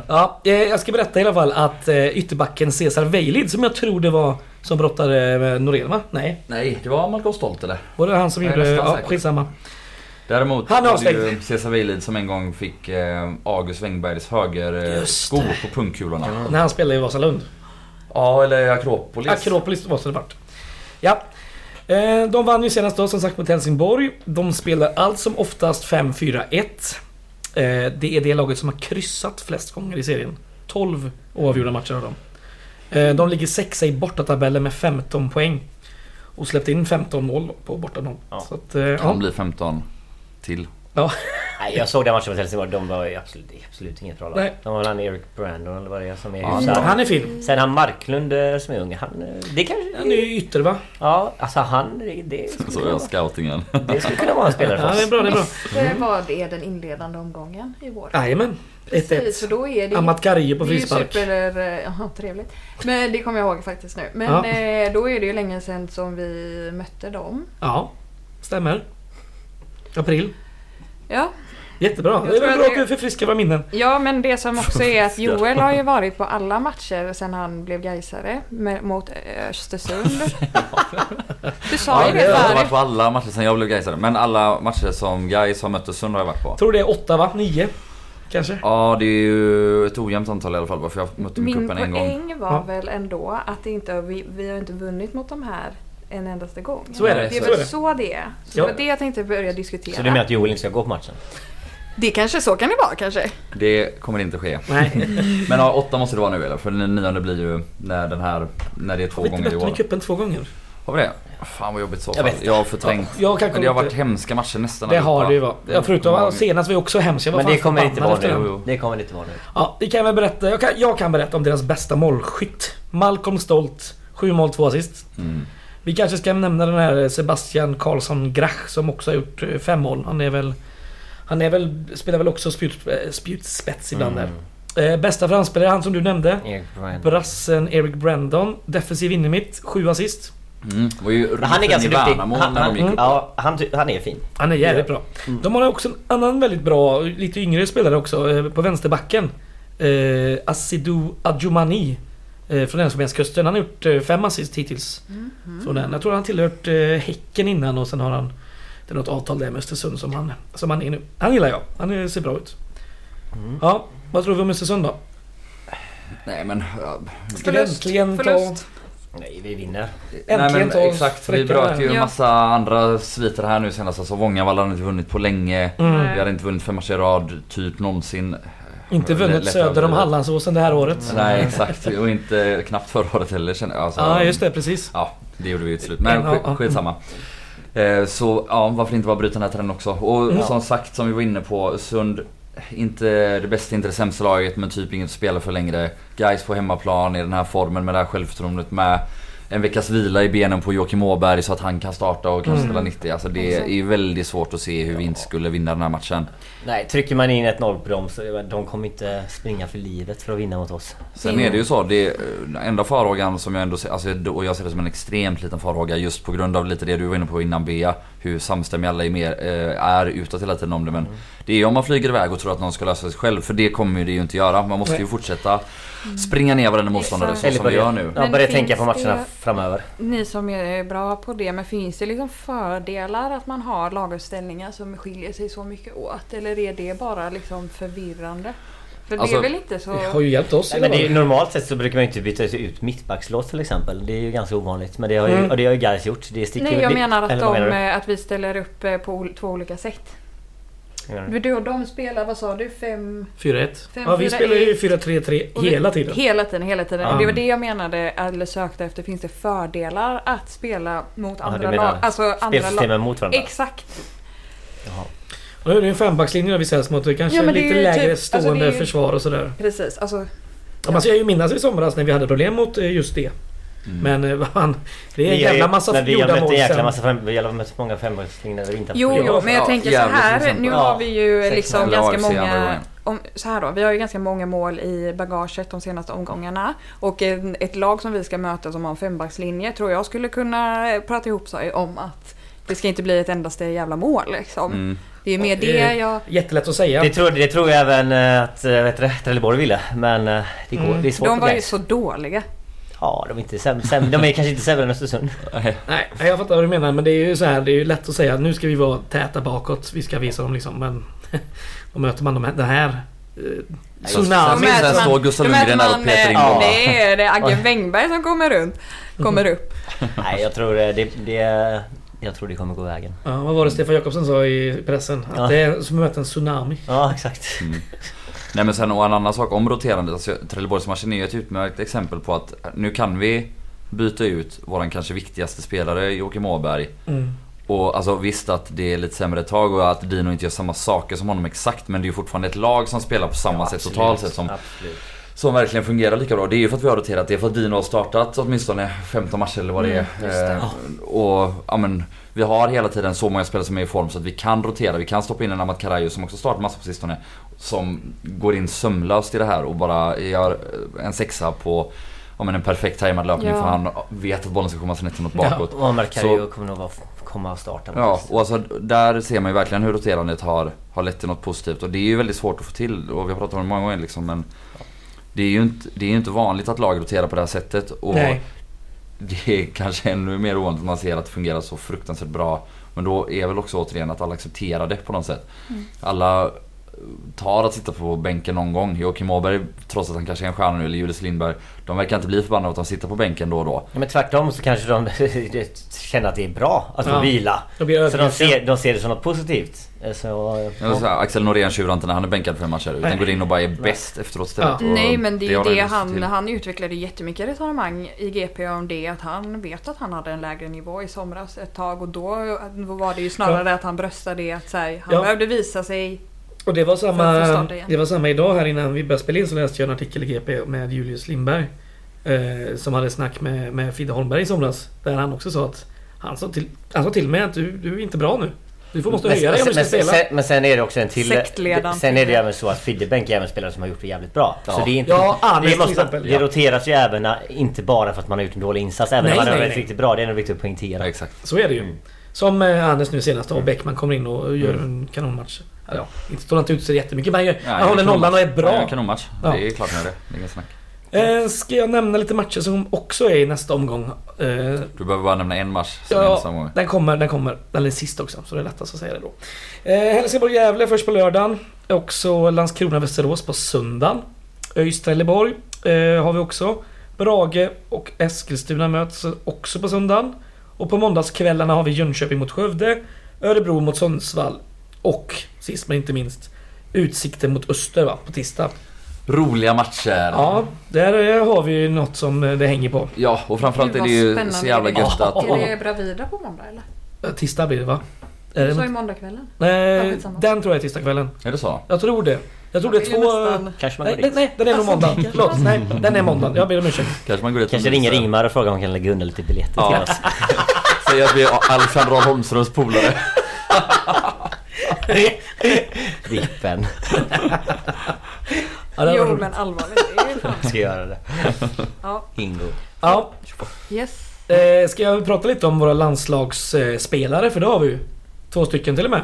S1: ja, eh, jag ska berätta i alla fall att eh, ytterbacken Cesar Weilid som jag tror det var som brottade med Norén va? Nej,
S2: Nej, det var Malcolm Stolt eller?
S1: Var det han som
S2: Jag är
S1: gjorde...
S2: nästan
S1: Ja,
S2: säker.
S1: skitsamma.
S2: Däremot
S1: Han är
S2: var det ju
S1: avstängd.
S2: Cesar Weilid som en gång fick eh, August Wängbergs höger eh,
S1: Just
S2: sko på pungkulorna.
S1: När han spelade i Vasalund.
S2: Ja, eller Akropolis.
S1: Akropolis måste det varit. Ja. Eh, De vann ju senast då som sagt mot Helsingborg. De spelar allt som oftast 5-4-1. Eh, Det är det laget som har kryssat flest gånger i serien. 12 oavgjorda matcher har de. Eh, De ligger sexa i bortatabellen med 15 poäng. Och släppte in 15 mål på bortanom.
S3: Ja.
S1: Så att, eh,
S2: Kan
S1: ja.
S2: bli 15 till.
S1: Ja.
S3: Nej, jag såg den matchen mot Helsingborg. De var ju absolut, absolut inget bra lag.
S1: Nej.
S3: De var väl han Eric Brandon eller vad det är som är
S2: Ja,
S3: hyfsad.
S2: Så-
S1: Han är fin.
S3: Sen han Marklund eh, som är ung. Han... eh, Det kanske...
S1: Han är ju ytter va?
S3: Ja, alltså han... Det, det, skulle,
S2: Så
S3: kunna,
S2: jag scoutingen.
S3: vara- det skulle kunna vara en
S1: Ja,
S3: spelare för
S1: det är
S3: oss.
S1: bra, det är bra. Mm.
S4: Det var det den inledande omgången i vår.
S1: Jajamän.
S4: Precis,
S1: 1-1.
S4: för då är det
S1: Amat Karje på
S4: det är ju
S1: frispark.
S4: super... eh, Jaha, trevligt. Men det kommer jag ihåg faktiskt nu. Men
S1: Ja.
S4: eh, då är det ju länge sedan som vi mötte dem.
S1: Ja, stämmer. April.
S4: Ja,
S1: Jättebra.
S4: Jag
S1: Det är
S4: tror
S1: väl
S4: att
S1: bra
S4: det-
S1: att du förfriskar våra minnen.
S4: ja men det som också är att Joel har ju varit på alla matcher sedan han blev Gaisare med- mot eh, Östersund. Du sa
S2: Ja,
S4: ju
S2: det
S4: det
S2: har jag
S4: förut.
S2: varit på alla matcher sen jag blev Gaisare. Men alla matcher som Gais har mött Östersund har jag varit på.
S1: Tror det är åtta va? Nio? Kanske?
S2: Ja det är ju ett ojämnt antal i alla fall bara för jag mötte dem i
S4: Min
S2: cupen en gång.
S4: poäng var
S1: Ja.
S4: väl ändå att det inte, vi, vi har inte vunnit mot de här en endaste gång.
S1: Så är det,
S4: Det
S2: Nej,
S4: är
S1: så är
S4: väl
S1: det.
S4: så det är. Så
S1: Ja.
S4: det var det jag tänkte börja diskutera.
S3: Så du menar att Joel inte ska gå på matchen?
S4: Det kanske så kan det vara kanske.
S2: Det kommer inte ske.
S1: Nej.
S2: Men ja, åtta måste det vara nu eller? För den nionde blir ju när den här, när det är två
S1: Har vi inte
S2: gånger i
S1: mött dem i
S2: år.
S1: cupen två gånger?
S2: Har vi det? Fan vad jobbigt så
S3: Jag
S2: fall.
S3: vet.
S2: Jag har förträngt.
S1: Jag kan
S2: Men det har
S1: komma
S2: varit
S1: inte...
S2: hemska matcher nästan
S1: Det har
S2: allihopa.
S1: det ju varit. Ja, förutom senast var ju också hemskt. Jag var
S3: Men
S1: fan
S3: det kommer inte
S1: förbannad
S3: vara
S1: efter den.
S3: nu. Det kommer det inte vara nu.
S1: Ja, det kan jag väl berätta. Jag kan, jag kan berätta om deras bästa målskytt. Malcolm Stolt. 7 mål, 2 assist.
S2: Mm.
S1: Vi kanske ska nämna den här Sebastian Karlsson Grach som också har gjort eh, fem mål. Han är väl... Han är väl, spelar väl också spjut, eh, spjutspets
S3: Mm.
S1: ibland där. Eh, bästa framspelare, han som du nämnde.
S3: Erik Bryan.
S1: Brassen Eric Brandon. Defensiv innermitt, 7 assist.
S2: Mm. Det var ju
S3: Men Han är ganska duktig.
S2: Han,
S3: Han, Mm.
S2: när de gick
S3: han,
S2: upp.
S3: ja, han, ty- han är fin.
S1: Han är Ah, jävligt bra. De har också en annan väldigt bra, lite yngre spelare också eh, på vänsterbacken. Eh, Asidou Adjumani. Eh, från Elfenbenskusten. Han har gjort eh, fem assist hittills. Från den. Jag tror han tillhört eh, Häcken innan och sen har han det är något avtal där med Östersund som han, som han är nu. Han gillar jag. Han eh, ser bra ut.
S2: Mm.
S1: Ja, vad tror vi om Östersund då?
S2: Nej men... ja,
S1: Ska vi äntligen ta...
S4: Förlust.
S3: Nej, vi vinner.
S2: Nej, men
S1: ta oss
S2: exakt, vi
S1: fräcka
S2: bröt ju
S4: där.
S2: en
S4: Ja.
S2: massa andra sviter här nu senast. Alltså Vångavalla hade inte vunnit på länge.
S1: Mm.
S2: Vi hade inte vunnit fem matcher i rad, typ någonsin.
S1: Inte
S2: Lätt-
S1: vunnit
S2: lätt
S1: söder om
S2: överdrivet.
S1: Hallandsåsen det här året.
S2: Nej exakt, och inte knappt förra året heller känner jag. Alltså,
S1: Ja, just det. Precis.
S2: Ja, det gjorde vi ju till slut. Men
S1: Ja, ja.
S2: sk- skitsamma. Eh, Så ja, varför inte bara bryta den här trenden också? Och
S1: Ja.
S2: som sagt, som vi var inne på, Sund inte det bästa, inte det sämsta laget men typ inget att spela för längre. Guys på hemmaplan i den här formen med det här självförtroendet med en veckas vila i benen på Joakim Åberg så att han kan starta och kanske
S1: Mm.
S2: spela 90. Alltså det är
S4: Exakt.
S2: ju väldigt svårt att se hur vi inte skulle vinna den här matchen.
S3: Nej, trycker man in ett nollbroms så de kommer inte springa för livet för att vinna mot oss.
S2: Sen är det ju så, det eh, enda farhågan som jag ändå ser, alltså, och jag ser det som en extremt liten farhåga just på grund av lite det du var inne på innan Bea, hur samstämmiga alla är, mer, eh, är utåt hela tiden om det. Men
S1: Mm.
S2: det är ju om man flyger iväg och tror att någon ska lösa sig själv, för det kommer ju det ju inte göra. Man måste ju
S1: Nej. Mm.
S2: fortsätta springa ner varenda motståndare så
S4: Exakt.
S2: som vi gör nu. Mm.
S3: Ja,
S4: Men
S3: börja
S4: finns
S3: tänka på matcherna
S4: det-
S3: framöver.
S4: Ni som är bra på det, men finns det liksom fördelar att man har laguppställningar som skiljer sig så mycket åt? Eller är det bara liksom förvirrande? För det
S2: Alltså,
S4: är väl inte så...
S1: Det har ju hjälpt oss. i
S3: Nej, men
S1: alla
S3: det är,
S1: fall.
S3: normalt sett så brukar man ju inte byta ut mittbackslås till exempel. Det är ju ganska ovanligt. Men det har ju,
S1: Mm.
S3: och det har ju guys gjort. Det sticker
S4: Nej, jag
S3: det-
S4: menar att,
S3: eller vad
S4: de,
S3: menar
S4: eh, att vi ställer upp eh, på ol- två olika sätt.
S3: du? Menar du?
S4: Men då de spelar, vad sa du, fem...
S1: 4-1.
S4: Fem,
S1: Ja, vi
S4: fyra,
S1: spelar ju
S4: ett.
S1: 4-3-3 hela tiden.
S4: Hela tiden, hela tiden.
S2: Ja.
S4: Det var det jag menade, eller sökte efter. Finns det fördelar att spela mot
S3: Ja,
S4: andra
S3: du menar
S4: lag? Alltså andra lag.
S3: Spelsystemen mot varandra?
S4: Exakt.
S3: Jaha.
S1: Och då är det ju en fembackslinje där vi ställs mot. Det Kanske
S4: Ja, men det
S1: lite
S4: är ju
S1: lägre
S4: typ-
S1: stående
S4: alltså, det är ju-
S1: försvar och sådär.
S4: Precis. Alltså,
S1: Ja. Man ska ju minnas i somras när vi hade problem mot eh, just det. Men eh, vad fan, det är en
S3: Vi har ju-
S1: jävla massa
S3: men vi har
S1: gjorda
S3: mött
S1: mål
S3: en jäkla
S1: sen.
S3: massa fem, vi har mött många fembackslinjer där vi inte har
S4: Jo,
S3: problem.
S4: jo, men jag
S2: Ja,
S4: tänker så
S2: Gävle till
S4: här.
S2: exempel.
S4: Nu
S3: Ja,
S4: har vi ju
S3: sex
S4: liksom
S2: noll.
S4: ganska
S2: AFC andra
S4: många...
S2: gången.
S4: Om, så här då, vi har ju ganska många mål i bagaget de senaste omgångarna. Och en, ett lag som vi ska möta som har en fembackslinje tror jag skulle kunna eh, prata ihop sig om att det ska inte bli ett endaste jävla mål liksom.
S2: Mm.
S4: Det är ju mer
S1: Och,
S4: det
S1: eh,
S4: jag...
S1: Jättelätt att säga.
S3: Det tror, det tror jag även eh, att eh, vet du, det, Trelleborg ville. Men eh, det, går,
S1: Mm.
S3: det är svårt
S4: De
S3: för
S4: var ju
S3: guys.
S4: så dåliga.
S3: Ja, de är, inte säm, säm, de är kanske inte sämre än Östersund.
S1: Nej, jag fattar vad du menar. Men det är ju så här, det är ju lätt att säga nu ska vi vara täta bakåt. Vi ska visa dem liksom. Men då möter man de här, den här... Eh,
S2: Så- Sen
S1: tsunami.
S2: minns
S4: möter
S2: jag
S4: man-
S2: står Gustav
S4: då möter
S2: Lundgren där
S4: man,
S2: och petar in
S3: eh,
S2: bollen.
S3: ja.
S4: Det är det är Agge Wängberg som kommer runt.
S3: Mm.
S4: Kommer upp.
S3: Nej, jag tror eh, det, det, jag tror det kommer gå vägen.
S1: Ja, vad var det Stefan Jakobsson sa i pressen? Att
S3: Ja.
S1: det är som att möta en tsunami.
S3: Ja, exakt.
S2: Mm. Nej men sen och en annan sak om roterandet. Alltså, Trelleborgsmatchen är ju ett utmärkt exempel på eh, att nu kan vi byta ut våran kanske viktigaste spelare Joakim Åberg.
S1: Mm.
S2: Och alltså visst att det är lite sämre tag och att Dino inte gör samma saker som honom exakt men det är ju fortfarande ett lag som spelar på samma sätt
S3: Absolut,
S2: totalt sett som,
S3: Absolut.
S2: som verkligen fungerar lika bra. Det är ju för att vi har roterat det, för att Dino har startat åtminstone 15 matcher eller vad det är.
S4: Mm, just det.
S2: Eh, och ja, men, vi har hela tiden så många spelare som är i form så att vi kan rotera. Vi kan stoppa in en Amat Karajo som också startat massa på sistone. Som går in sömlöst i det här och bara gör en sexa på ja, men en perfekt tajmad löpning
S4: Ja.
S2: för han vet att bollen ska komma snett inåt
S1: Ja.
S2: bakåt.
S3: Och Mercario
S2: Så-
S3: kommer nog vara, komma och starta.
S2: Ja, och alltså, där ser man ju verkligen hur roterandet har, har lett till något positivt. Och det är ju väldigt svårt att få till och vi har pratat om det många gånger liksom men det är ju inte, det är ju inte vanligt att lag roterar på det här sättet och
S1: Nej.
S2: det är kanske ännu mer ovanligt att man ser att det fungerar så fruktansvärt bra. Men då är väl också återigen att alla accepterar det på något sätt. Alla tar att sitta på bänken någon gång. Joakim Åberg, trots att han kanske är en stjärna nu, eller Julius Lindberg. De verkar inte bli förbannade åt att sitta på bänken då och då.
S3: Ja, men tvärtom så kanske de känner att det är bra att få
S1: Ja.
S3: vila.
S1: Då blir det
S3: Så de
S1: överraskning.
S3: ser, de ser det som något positivt. Eh, Så,
S2: Ja. Så här, Axel Norén tjurar inte när han är bänkad för en match här, utan
S1: Nej.
S2: går in och bara är bäst efteråt istället.
S1: Ja.
S2: Och
S4: Nej men det är
S2: har
S4: ju det
S2: lyft
S4: han,
S2: till.
S4: han utvecklade jättemycket resonemang i GP om det att han vet att han hade en lägre nivå i somras ett tag och då var det ju snarare att han bröstade det att så här, han
S1: Ja.
S4: behövde visa sig.
S1: Och det var,
S4: För att få
S1: samma,
S4: starta igen.
S1: det var samma idag här innan vi började spela in så läste jag en artikel i GP med Julius Lindberg. Eh, som hade snack med, med Frida Holmberg i somras. Där han också sa att han sa till, han sa till mig att du, du är inte bra nu. Du får måste höja dig om du ska
S3: men, sen,
S1: spela.
S3: men sen är det också en till...
S4: Sektledaren.
S3: Sen är det även så att Fiddebänk är även spelare som har gjort det jävligt bra. Så
S2: Ja.
S3: det är inte...
S1: Ja, Arnes
S3: det,
S1: till
S3: måste,
S1: exempel.
S3: det roteras ju även eh, inte bara för att man har gjort en dålig insats. Även
S1: Nej,
S3: om man har
S1: nej,
S3: varit
S1: nej.
S3: riktigt bra. Det är nog viktigt
S2: Ja,
S3: att poängtera.
S2: exakt.
S1: Så är det ju. Som eh, Anders nu senast
S2: Mm.
S1: och Bäckman kommer in och gör en kanonmatch. Eller Ja, inte står han inte ut så jättemycket men han, gör,
S2: Nej,
S1: han håller
S2: kanon-
S1: nollan och är
S2: Ja,
S1: bra.
S2: kanonmatch.
S1: Ja.
S2: Det är klart han gör det. Det är inget snack.
S1: Eh, ska jag nämna lite matcher som också är i nästa omgång? Eh,
S2: Du behöver bara nämna en match som är
S1: Ja,
S2: nästa gång.
S1: den kommer, den kommer. Den är sist också, så det är lättast att säga det då. Eh, Helsingborg-Gävle först på lördagen. Också Landskrona-Västerås på söndagen. ÖIS-Trelleborg eh, har vi också. Brage och Eskilstuna möts också på söndagen. Och på måndagskvällarna har vi Jönköping mot Skövde, Örebro mot Sundsvall och sist men inte minst Utsikten mot Öster va, på tisdag.
S2: Roliga matcher.
S1: Ja, där eh, har vi ju något som eh, det hänger på.
S2: Ja, och framförallt
S4: Gud,
S2: är det
S4: vad
S2: ju
S4: spännande
S2: så jävla
S4: det
S2: gött
S1: är.
S2: att...
S1: Ja.
S4: Är det Bravida på måndag eller?
S1: Eh, Tisdag blir det va? Är
S4: Du
S1: det
S4: sa
S1: något?
S4: ju måndagskvällen. Ja,
S1: Nej, eh,
S4: skitsamma.
S1: den tror jag är tisdagskvällen.
S2: Är det så?
S1: Jag tror det. Jag tror det är
S4: Jag vill
S1: två...
S4: nästan-
S3: Kanske man
S1: Nej,
S3: går
S1: nej,
S3: dit.
S1: nej, den är nog
S4: Alltså,
S1: måndag.
S4: vilken-
S1: Förlåt, nej, den är måndag. Jag ber om ursäkt.
S2: Kanske man går dit
S3: Kanske
S2: och
S3: ringer
S2: myser.
S3: Ingmar och frågar om han kan lägga undan lite biljetter till
S2: Ja.
S3: oss.
S2: Säger att vi är Alexander Ahl Holmströms polare.
S3: Vippen.
S1: Ja, det var
S4: Jo
S1: roligt.
S4: men allvarligt, det är ju fan.
S3: Ska göra det.
S4: Ja,
S3: Ingo.
S1: ja,
S4: yes.
S1: eh, ska jag prata lite om våra landslagsspelare? För det har vi ju. Två stycken till och med.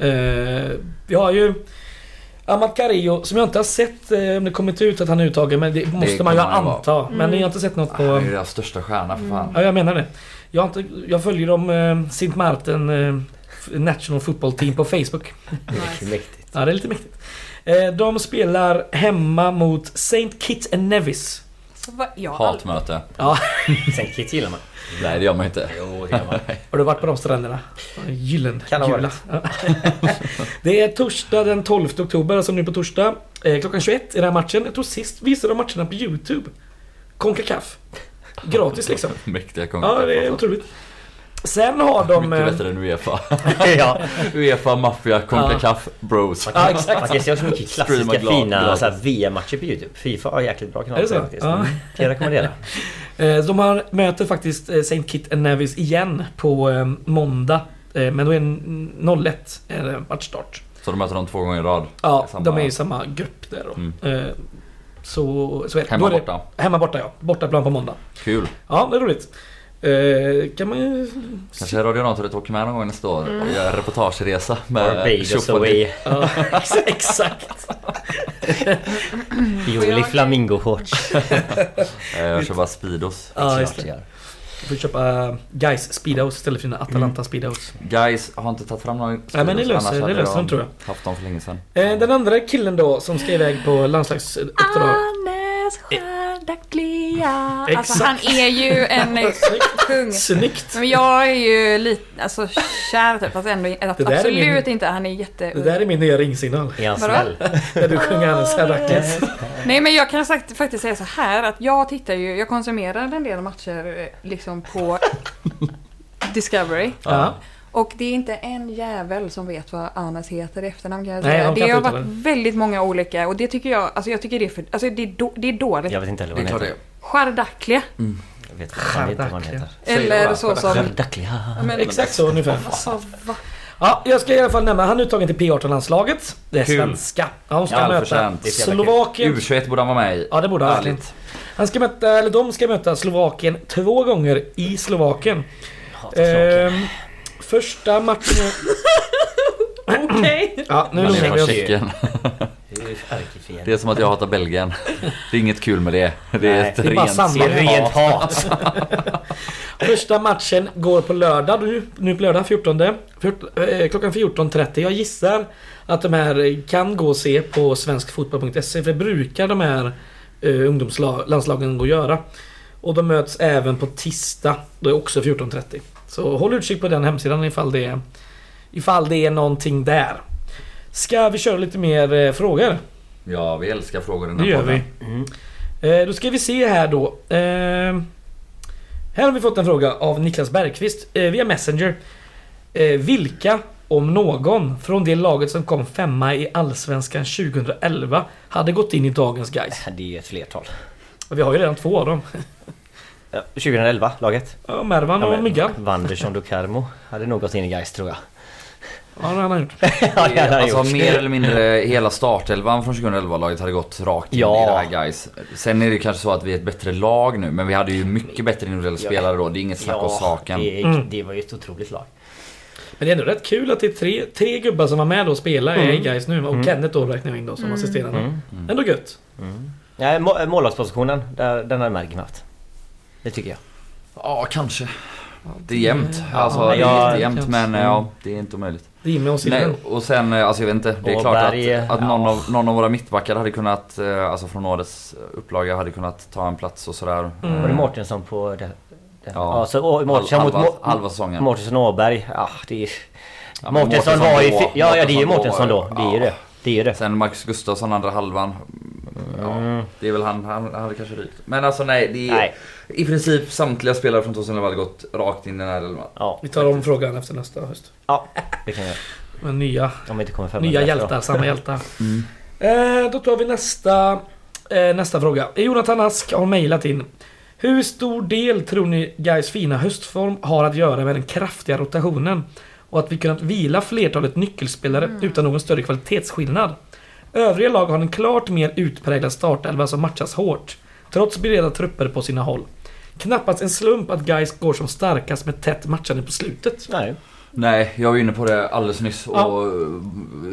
S1: Eh, vi har ju Amat Carillo, som jag inte har sett eh, om det kommit ut att han är uttagen. Men det måste man ju
S2: kommer han vara.
S1: anta. Men
S4: Mm.
S1: jag har inte sett något på...
S2: Han är ju deras största stjärna för fan.
S1: Ja, jag menar det. Jag, har inte, jag följer dem, eh, Sint Martin eh, f- National Football Team på Facebook.
S4: Nice.
S3: Mäktigt.
S1: Ja, det är lite mäktigt. Eh, De spelar hemma mot St. Kitts and Nevis.
S4: Så vad, jag har aldrig-
S2: Hatmöte.
S1: Ja,
S3: Sen Kit gillar man.
S2: Nej det gör man ju inte.
S3: Jo, det gör man.
S1: har du varit på de stränderna? Gyllen,
S3: Kan ha
S1: gula. Ja. Det är torsdag den 12 oktober, alltså nu på torsdag. eh, Klockan 21 är den här matchen. Jag tror sist visade de matcherna på YouTube. Concacaf. Gratis liksom.
S2: Mäktiga kongar.
S1: Ja, det är otroligt. Sen har de...
S2: Mycket
S1: eh,
S2: bättre än Uefa.
S3: ja.
S2: Uefa, Mafia, Concacaf, Bros.
S1: Ja, exakt.
S3: Man kan se också mycket klassiska
S2: Streama glad-
S3: fina
S2: glad.
S3: så här, VM-matcher på Youtube. Fifa har jäkligt bra
S1: Är
S3: kanaler
S1: det så?
S3: faktiskt.
S1: Ja.
S3: Mm. Kan jag rekommendera.
S1: Eh, De har, möter faktiskt eh, St. Kitts and Nevis igen på eh, måndag. Eh, Men då är det 01 är det matchstart.
S2: Så de möter dem två gånger i rad.
S1: Ja,
S2: Samma-
S1: de är i samma grupp där då.
S2: Mm.
S1: Eh, Så, så är det.
S2: Hemma
S1: Då är
S2: borta.
S1: Det, hemma borta ja. Bortaplan på måndag.
S2: Kul.
S1: Ja, det är roligt. Eh, Kan man ju...
S2: Kanske Radio Rantorget åker med någon gång nästa år
S4: Mm.
S2: och gör en reportageresa med
S3: Barbados
S2: Tjoff och Dipp.
S3: away.
S1: Ja, exakt.
S3: Joel i flamingo-shorts.
S2: Eh, Jag kör bara Speedos.
S1: Ja, just
S3: Klart
S1: det.
S3: jag gör.
S1: Du får köpa Guys Speedos istället för dina
S2: Mm.
S1: Atalanta Speedos.
S2: Guys har inte tagit fram någon
S1: Nej, men det
S2: Speedos,
S1: löser-
S2: annars
S1: det
S2: hade
S1: löser de, tror
S2: Haft dem för länge sedan.
S1: Eh, Den andra killen då som ska iväg på landslagsuppdrag.
S5: Ah.
S4: Anders Sköldaglia.
S1: Eh. Exakt.
S4: Alltså han är ju en eh, kung.
S1: Snyggt!
S4: Men jag är ju lite, alltså kär typ, fast ändå
S1: Det där är
S4: absolut
S1: min-
S4: inte. Han är jätte...
S1: Det där är min nya ringsignal.
S3: Är han
S4: Vadå?
S3: snäll?
S1: När du sjunger Anders Herrakles.
S4: Nej men jag kan sagt, faktiskt säga så här att jag tittar ju, jag konsumerar en del matcher eh, liksom på Discovery.
S1: Ja.
S4: Och det är inte en jävel som vet vad Anas heter i efternamn kan jag
S1: Nej,
S4: säga.
S1: de kan
S4: det har
S1: inte
S4: varit
S1: uttala
S4: väldigt många olika och det tycker jag, alltså jag tycker det är för, alltså det är, då, det är dåligt.
S3: Jag vet inte heller
S2: Det
S3: vad
S2: är
S3: den
S2: klart
S3: heter.
S2: det är.
S4: Chardaklia.
S3: Jag vet fan inte vad den heter.
S2: Säg
S4: Eller
S2: vad,
S4: så som...
S3: Chardaklia.
S4: Men,
S1: Exakt så ungefär.
S4: Alltså, va?
S1: Ja, jag ska i alla fall nämna, han är uttagen till P18-landslaget. Det är
S2: Kul.
S1: svenska. Ja, de ska
S2: Ja,
S1: möta
S2: förtjänt. Det är
S3: så jävla kul.
S1: Slovakien.
S2: U21 borde han vara med i.
S1: Ja, det borde han verkligen.
S2: Härligt.
S1: Han ska möta, eller de ska möta Slovakien två gånger i Slovakien. Ehm, första matchen...
S4: Okej.
S1: Ja, nu
S2: Man är
S1: lugnar vi
S2: från
S1: oss.
S2: Tjeckien. Det är som att jag hatar Belgien. Det är inget kul med det. Det är
S3: Nej,
S2: ett
S3: det
S1: är bara
S2: rent...
S1: samma.
S3: Det är rent hat.
S1: Första matchen går på lördag, nu, nu på lördag 14. Fjort- eh, klockan 14.30. Jag gissar att de här kan gå och se på svenskfotboll.se för det brukar de här eh, ungdomslandslagen gå och göra. Och de möts även på tisdag, då är det också 14.30. Så håll utkik på den hemsidan ifall det är, ifall det är någonting där. Ska vi köra lite mer eh, frågor?
S2: Ja, vi älskar frågor i den
S1: Det
S2: här
S1: gör vi.
S2: podden.
S3: Mm.
S1: Eh, Då ska vi se här då. Eh, Här har vi fått en fråga av Niklas Bergqvist eh, via Messenger. Eh, Vilka, om någon, från det laget som kom femma i Allsvenskan 2011 hade gått in i dagens guys?
S3: Det är ju ett flertal.
S1: Vi har ju redan två av dem.
S3: Ja, 2011, laget.
S1: Ja, Mervan och Myggan.
S3: Wanderson do Carmo hade nog gått in i Gais tror jag.
S1: Ja, det har han gjort.
S3: Ja, det hade han
S2: Alltså
S3: gjort.
S2: mer eller mindre hela startelvan från 2011-laget hade gått rakt in
S3: Ja.
S2: i det här guys. Sen är det kanske så att vi är ett bättre lag nu, men vi hade ju mycket bättre individuella
S3: Ja.
S2: spelare då. Det är inget snack om saken.
S3: Det,
S1: Mm.
S3: det var ju ett otroligt lag.
S1: Men det är ändå rätt kul att det är tre, tre gubbar som var med då och spelade i guys nu. Och Kenneth då räknar vi in då som assisterande. Ändå gött.
S3: Nej, må- eh, målvaktspositionen, där- den har Mergim haft. Det tycker jag.
S2: Ja, kanske. Det är jämnt.
S1: Ja,
S2: Alltså,
S3: men
S2: det
S3: jag-
S2: är jättejämnt, men
S1: Mm.
S2: ja, det är inte omöjligt.
S1: Jimmy och
S2: Nej,
S1: Silven.
S2: och sen, eh, alltså jag vet inte. Det är klart
S3: Åberg,
S2: att, att någon,
S3: ja.
S2: av, någon av våra mittbackar hade kunnat, eh, alltså från årets upplaga, hade kunnat ta en plats och sådär.
S1: Mm.
S3: Var det
S2: Eh,
S3: Mårtensson på... Det, det.
S2: Ja.
S3: Ja. så och Mårtensson
S2: Halva-
S3: mot... Må-
S2: Eh, halva säsongen.
S3: Mårtensson och Åberg. Ja, det är...
S2: Ja, men
S3: Mårtensson
S2: Mårtensson
S3: var ju...
S2: då-
S3: fi- Ja, ja, det är ju
S2: Mårtensson
S3: Mårtensson
S2: då var-
S3: då. Det är ju
S2: ja.
S3: det. Det är ju det.
S2: Sen Marcus Gustafsson, andra halvan. Ja, det är väl han, han hade kanske rykt. Men alltså nej, det är
S3: Nej.
S2: i princip samtliga spelare från 2011 hade gått rakt in i den här elvan.
S3: Ja,
S1: Vi tar om frågan efter nästa höst.
S3: ja det kan jag göra.
S1: Men nya
S3: Om vi inte kommer fram
S1: Nya
S3: efter
S1: hjältar,
S3: då.
S1: samma hjältar. Eh, då tar vi nästa, eh, nästa fråga. Jonathan Ask har mejlat in. Hur stor del tror ni guys fina höstform har att göra med den kraftiga rotationen? Och att vi kunnat vila flertalet nyckelspelare utan någon större kvalitetsskillnad. Övriga lag har en klart mer utpräglad startelva som matchas hårt. Trots breda trupper på sina håll. Knappast en slump att guys går som starkast med tätt matchande på slutet.
S3: Nej.
S2: Nej, jag var inne på det alldeles nyss och
S1: Ja.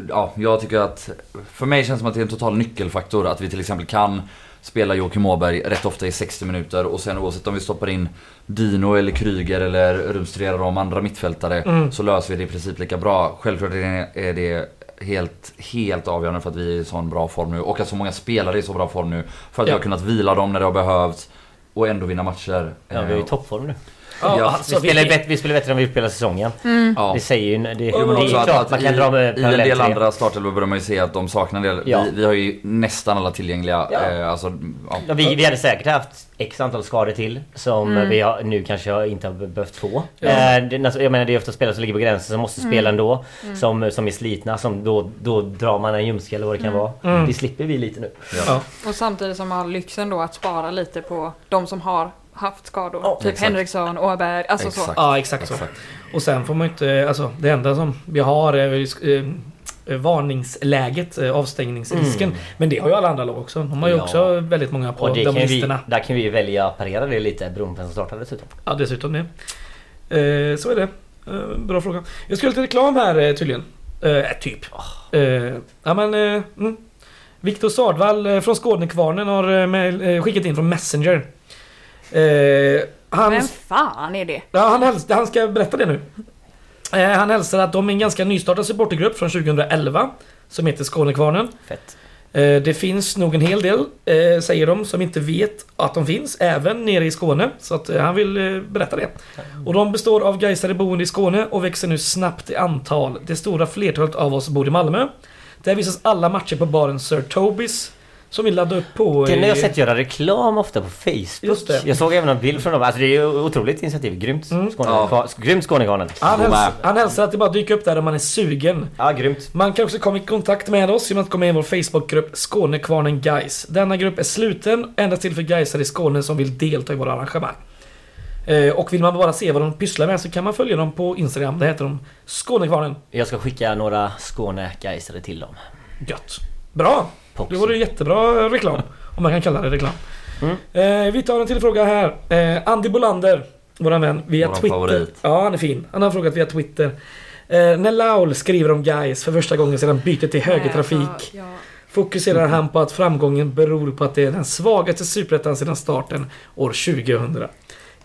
S2: ja. jag tycker att för mig känns det som att det är en total nyckelfaktor att vi till exempel kan spela Joakim Åberg rätt ofta i 60 minuter och sen oavsett om vi stoppar in Dino eller Kryger eller rumstrerar om andra mittfältare
S1: Mm.
S2: så löser vi det i princip lika bra. Självklart är det- är det helt, helt avgörande för att vi är i sån bra form nu och att så många spelare är i så bra form nu för att
S1: Ja.
S2: vi har kunnat vila dem när det har behövts och ändå vinna matcher. Eh,
S3: Ja, vi är ju i toppform nu.
S2: Ja,
S1: alltså,
S3: Eh, vi, spelar bättre, vi spelar bättre än vi spelar säsongen.
S2: Ja.
S3: Det säger ju... Det, det,
S1: Ja, men
S3: det är ju
S2: Också
S3: klart
S2: Mm. att,
S3: man
S2: att i,
S3: kan dra med
S2: I en del
S3: parallell till det.
S2: andra startelvor börjar man ju se att de saknar en del.
S3: Ja.
S2: Vi, vi har ju nästan alla tillgängliga.
S3: Ja.
S2: Eh, alltså, ja.
S3: Ja, vi, vi hade säkert haft x antal skador till som
S2: Mm.
S3: vi har, nu kanske jag inte har be- behövt få. Eh, det, alltså, jag menar det är ofta spelare som ligger på gränsen som måste
S2: Mm.
S3: spela ändå. Som, som är slitna. Som då, då drar man en ljumske eller vad det
S2: Mm.
S3: kan vara. Det slipper vi lite nu.
S1: Ja.
S4: Och samtidigt som man har lyxen då att spara lite på de som har haft skador.
S3: Ja,
S4: typ
S2: exakt.
S4: Henriksson, Åberg, alltså så.
S2: Exakt.
S1: Ja, exakt så.
S2: Exakt.
S1: Och sen får man ju inte, alltså det enda som vi har är ju sk- eh, varningsläget, eh, avstängningsrisken. Men det har ju alla andra lag också. De har ju
S3: Mm. Ja.
S1: också väldigt många på
S3: Och det
S1: de
S3: kan ju vi,
S1: listorna.
S3: där kan vi ju välja att parera det lite beroende på vem som startar dessutom.
S1: Ja, dessutom det. Eh, så är det. Eh, bra fråga. Jag skulle till reklam här eh, tydligen. Eh, typ.
S3: Ah.
S1: Eh, ja men... Eh, mm. Viktor Sardvall eh, från Skånekvarnen har eh, mail- eh, skickat in från Messenger. Eh,
S4: Vem
S1: hans-
S4: fan är det?
S1: Ja, han, häls- han ska berätta det nu. Eh, han hälsar att de är en ganska nystartad supportergrupp från 2011 som heter Skånekvarnen.
S3: Fett.
S1: Eh, det finns nog en hel del, eh, säger de, som inte vet att de finns, även nere i Skåne. Så att, eh, han vill eh, berätta det.
S3: Mm.
S1: Och de består av Gaisare boende i Skåne och växer nu snabbt i antal. Det stora flertalet av oss bor i Malmö. Där visas alla matcher på baren Sir Tobis Som vi laddade upp på...
S3: Den har jag
S1: i-
S3: sett göra reklam ofta på Facebook.
S1: Just det.
S3: Jag såg även en bild från dem. Alltså det är ju otroligt initiativ. Grymt
S1: Mm.
S3: Skåne-
S2: Ja.
S3: Grymt Skånegarnen.
S1: Han,
S2: De
S1: häls-
S2: är-
S1: han hälsar att det bara dyker upp där om man är sugen.
S3: Ja, grymt.
S1: Man kan också komma i kontakt med oss genom att gå med i vår Facebookgrupp Skånekvarnen Guys. Denna grupp är sluten endast till för Gaisare i Skåne som vill delta i våra arrangemang. Eh, Och vill man bara se vad de pysslar med så kan man följa dem på Instagram. Där heter de Skånekvarnen.
S3: Jag ska skicka några Skåne-Gaisare till dem.
S1: Gött. Bra!
S3: Poxy.
S1: Det vore jättebra reklam. Om man kan kalla det reklam. Eh, vi tar en till fråga här. Eh, Andy Bolander, våran vän, via
S2: Våran
S1: Twitter.
S2: favorit.
S1: Ja, han är fin. Han har frågat via Twitter. Eh, när Laul skriver om guys för första gången sedan bytet till högertrafik
S4: Alltså, ja.
S2: Mm.
S1: fokuserar han på att framgången beror på att det är den svagaste superettan sedan starten år 2000.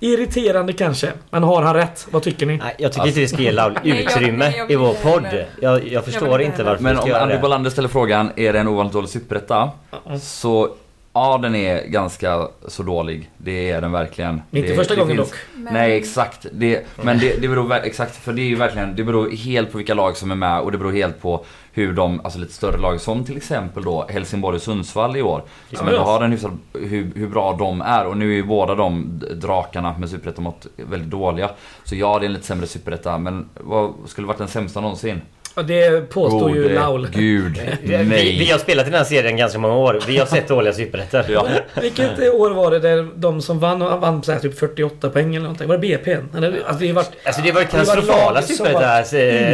S1: Irriterande kanske, men har han rätt? Vad tycker ni?
S3: Nej, jag tycker inte vi ska ge Laul
S4: Nej, jag- nej,
S3: utrymme
S4: jag
S3: i vår
S4: vill-
S3: podd. Jag, jag förstår
S4: vill inte
S3: inte
S4: heller.
S3: varför vi
S2: Men
S3: ska
S2: om
S3: göra
S2: Andy
S3: det.
S2: Bolander ställer frågan, är det en ovanligt dålig superetta?
S1: Mm.
S2: Så ja, den är ganska så dålig. Det är den verkligen.
S1: Det är inte
S2: det,
S1: första
S2: det
S1: gången dock.
S4: Men-
S2: Nej exakt. Det, men det, det beror ver- exakt för det är ju verkligen, det beror helt på vilka lag som är med och det beror helt på hur de, alltså lite större lag som till exempel då Helsingborg och Sundsvall i år. Som
S1: Ja,
S2: ändå
S1: ja.
S2: har en hyfsad, hur, hur bra de är och nu är ju båda de d- drakarna med superettan mot väldigt dåliga. Så ja, det är en lite sämre superetta men vad skulle varit den sämsta någonsin?
S1: Ja, Det påstår ju
S2: Gode
S1: Laul.
S2: Gud,
S3: Vi, vi, vi
S2: nej.
S3: har spelat i den här serien ganska många år. Vi har sett dåliga superettor.
S2: Ja.
S1: Vilket eh, år var det där de som vann, och vann så här typ 48 poäng eller någonting? Var det BP? Eller, alltså det har ju varit...
S3: Alltså det var ju
S1: Det var
S3: katastrofala
S1: lag som usla.
S4: Men, eh,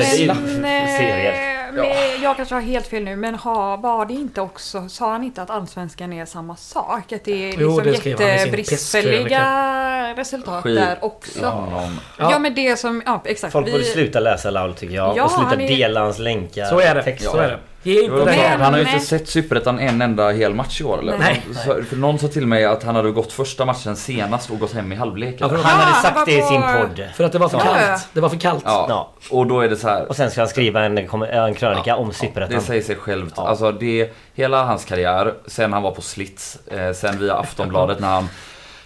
S3: superettor-serier.
S4: men jag kanske har helt fel nu, men ha, var det inte också, sa han inte att allsvenskan är samma sak? Att det är
S1: Jo,
S4: liksom
S1: det skrev han i sin
S4: jättebristfälliga resultat
S2: Skit.
S4: där också? Ja.
S2: Någon-
S4: men det som, ja exakt.
S3: Folk
S4: vi-
S3: borde sluta läsa Laul tycker jag.
S4: Ja,
S3: och sluta
S4: han är-
S3: dela hans länkar.
S1: Så är det.
S3: texter.
S1: Så är det. Ge
S2: Det var
S1: inte
S2: de sa,
S1: det.
S4: Men-
S2: han har ju inte sett Superettan en enda hel match i år eller?
S1: Nej.
S2: Så, för någon sa till mig att han hade gått första matchen senast och gått hem i halvlek.
S1: Ja, för-
S3: Han
S4: Ja,
S3: hade
S4: han
S3: sagt
S4: var
S3: det i sin
S4: på-
S3: podd.
S1: För att det var för
S4: Ja.
S1: kallt. Det var för kallt.
S2: Ja.
S3: Ja.
S2: Och då är det så här.
S3: Och sen ska han skriva en, kom- en krönika om
S2: Det
S3: superettan.
S2: säger sig självt.
S3: Ja.
S2: Alltså det, hela hans karriär, sen han var på Slits, eh, sen via Aftonbladet när han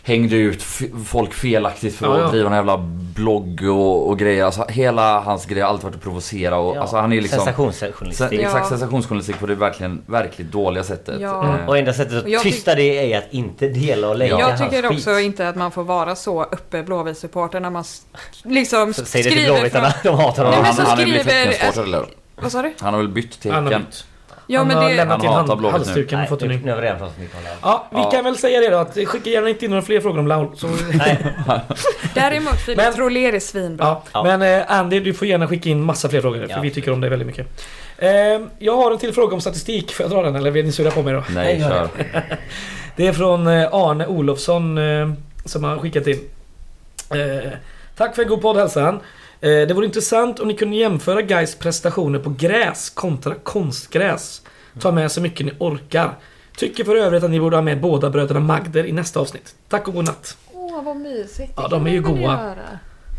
S2: hängde ut f- folk felaktigt för
S1: Ja, ja.
S2: att driva en jävla blogg och, och grejer. Alltså hela hans grej har alltid varit att provocera och
S3: Ja.
S2: alltså han är liksom... Sen,
S3: Sensationsjournalistik.
S2: Exakt,
S4: Ja.
S2: sensationsjournalistik på det verkligen, verkligen dåliga sättet.
S4: Ja.
S2: Eh,
S3: Och enda sättet
S4: Och jag
S3: att tysta det är att inte dela och länka
S4: Jag
S3: hans
S4: tycker
S3: skit.
S4: också inte att man får vara så uppe Blåvitt-supporter när man s- liksom
S3: Så Säg det till
S4: skriver från...
S3: blåvittarna, de hatar
S4: Nej,
S2: han,
S4: men
S3: honom.
S4: så
S2: han är väl
S4: skriver-
S2: teckensupporter, eller?
S4: Vad sa du?
S2: Han har väl bytt
S1: Han har
S2: tecken.
S1: bytt.
S4: Ja,
S1: han
S4: men
S1: har
S4: det...
S1: lämnat in
S2: Han
S1: hand,
S2: hatar Blåvitt nu. typ-
S1: halsduken och fått en
S3: Nej,
S1: ny.
S3: nu- nu har vi redan pratat mycket om det här.
S1: Ja, vi
S2: Ja.
S1: kan väl säga det då att skicka gärna inte in några fler frågor om Laul. Så,
S3: Nej,
S4: Däremot
S1: Men-
S4: Filip Troler är svinbra.
S1: ja.
S3: Ja.
S1: Men eh, Andy, du får gärna skicka in massa fler frågor. För
S3: Ja.
S1: vi tycker om dig väldigt mycket. Eh, jag har en till fråga om statistik. Får jag dra den eller vill ni sura på mig då?
S2: Nej,
S3: Nej,
S2: kör.
S1: Det är från eh, Arne Olofsson eh, som har skickat in. Eh, Tack för en god podd hälsar han. Eh, Det vore intressant om ni kunde jämföra Gais prestationer på gräs kontra konstgräs. Ta med så mycket ni orkar. Tycker för övrigt att ni borde ha med båda bröderna Magder i nästa avsnitt. Tack och godnatt.
S4: Åh, vad mysigt.
S1: Ja,
S4: Det
S1: de
S4: kan
S1: är ju
S4: man väl
S1: goa.
S4: göra.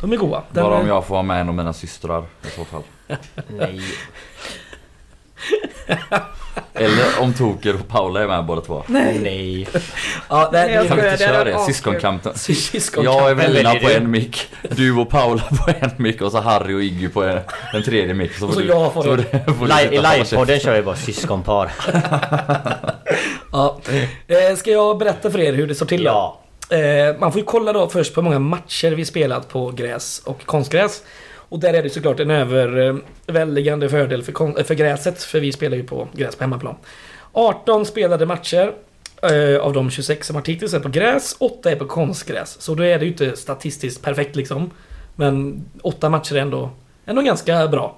S1: De är goa. Den-
S2: Bara om jag får vara med en av mina systrar i så fall.
S3: nej.
S2: Eller om Toker och Paula är med båda två.
S3: nej.
S1: Ja, det,
S4: Jag
S2: Kan
S1: det,
S2: vi inte
S4: skojar. det
S2: köra
S4: hade
S2: det?
S4: varit
S2: Syskonkampen.
S1: Syskon.
S2: Jag och Evelina
S3: väljer
S2: på
S3: du?
S2: en mick, du och Paula på en mick och så Harry och Iggy på en, en tredje mick.
S1: Och så
S2: du-
S1: jag får
S2: så
S1: det.
S2: du- får du
S3: Live,
S2: sitta
S3: I
S2: och hålla käften.
S3: livepodden kör vi bara syskonpar.
S1: Ja. Eh, Ska jag berätta för er hur det står till då?
S3: Ja.
S1: Eh, man får ju kolla då först på hur många matcher vi spelat på gräs och konstgräs. Och där är det såklart en överväldigande fördel för, kon- eh, för gräset, för vi spelar ju på gräs på hemmaplan. 18 spelade matcher eh, av de 26 som har hittills är på gräs, 8 är på konstgräs. Så då är det ju inte statistiskt perfekt liksom. Men 8 matcher är ändå, ändå ganska bra.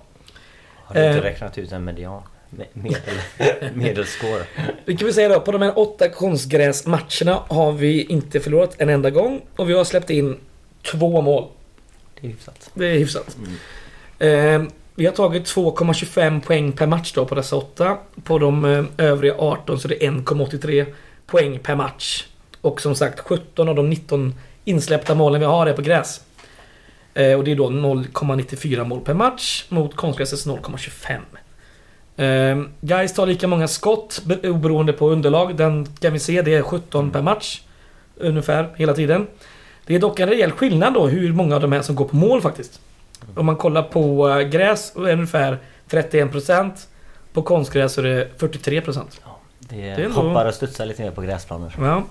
S3: Har du
S1: Eh.
S3: inte räknat ut en median? Me- Medel, medelscore.
S1: Vi kan väl säga då, på de här åtta konstgräsmatcherna har vi inte förlorat en enda gång och vi har släppt in två mål.
S3: Det är hyfsat.
S1: Det är hyfsat. Eh, vi har tagit 2,25 poäng per match då på dessa åtta. På de eh, övriga 18 så det är 1,83 poäng per match. Och som sagt 17 av de 19 insläppta målen vi har är på gräs. Eh, och det är då 0,94 mål per match mot konstgräsets 0,25. Eh, Gais tar lika många skott be- oberoende på underlag. Den kan vi se, det är 17 per match. Ungefär hela tiden. Det är dock en rejäl skillnad då hur många av de här som går på mål faktiskt. Om man kollar på eh, gräs så är det ungefär 31% På konstgräs så är det 43% Det är
S3: Det
S1: ändå-
S3: hoppar och studsar lite mer på gräsplaner.
S1: Ja.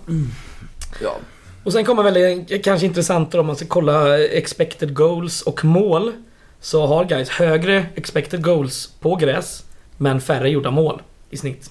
S2: Ja.
S1: Och sen kommer väl det kanske intressantare om man ska kolla expected goals och mål. Så har guys högre expected goals på gräs men färre gjorda mål i snitt.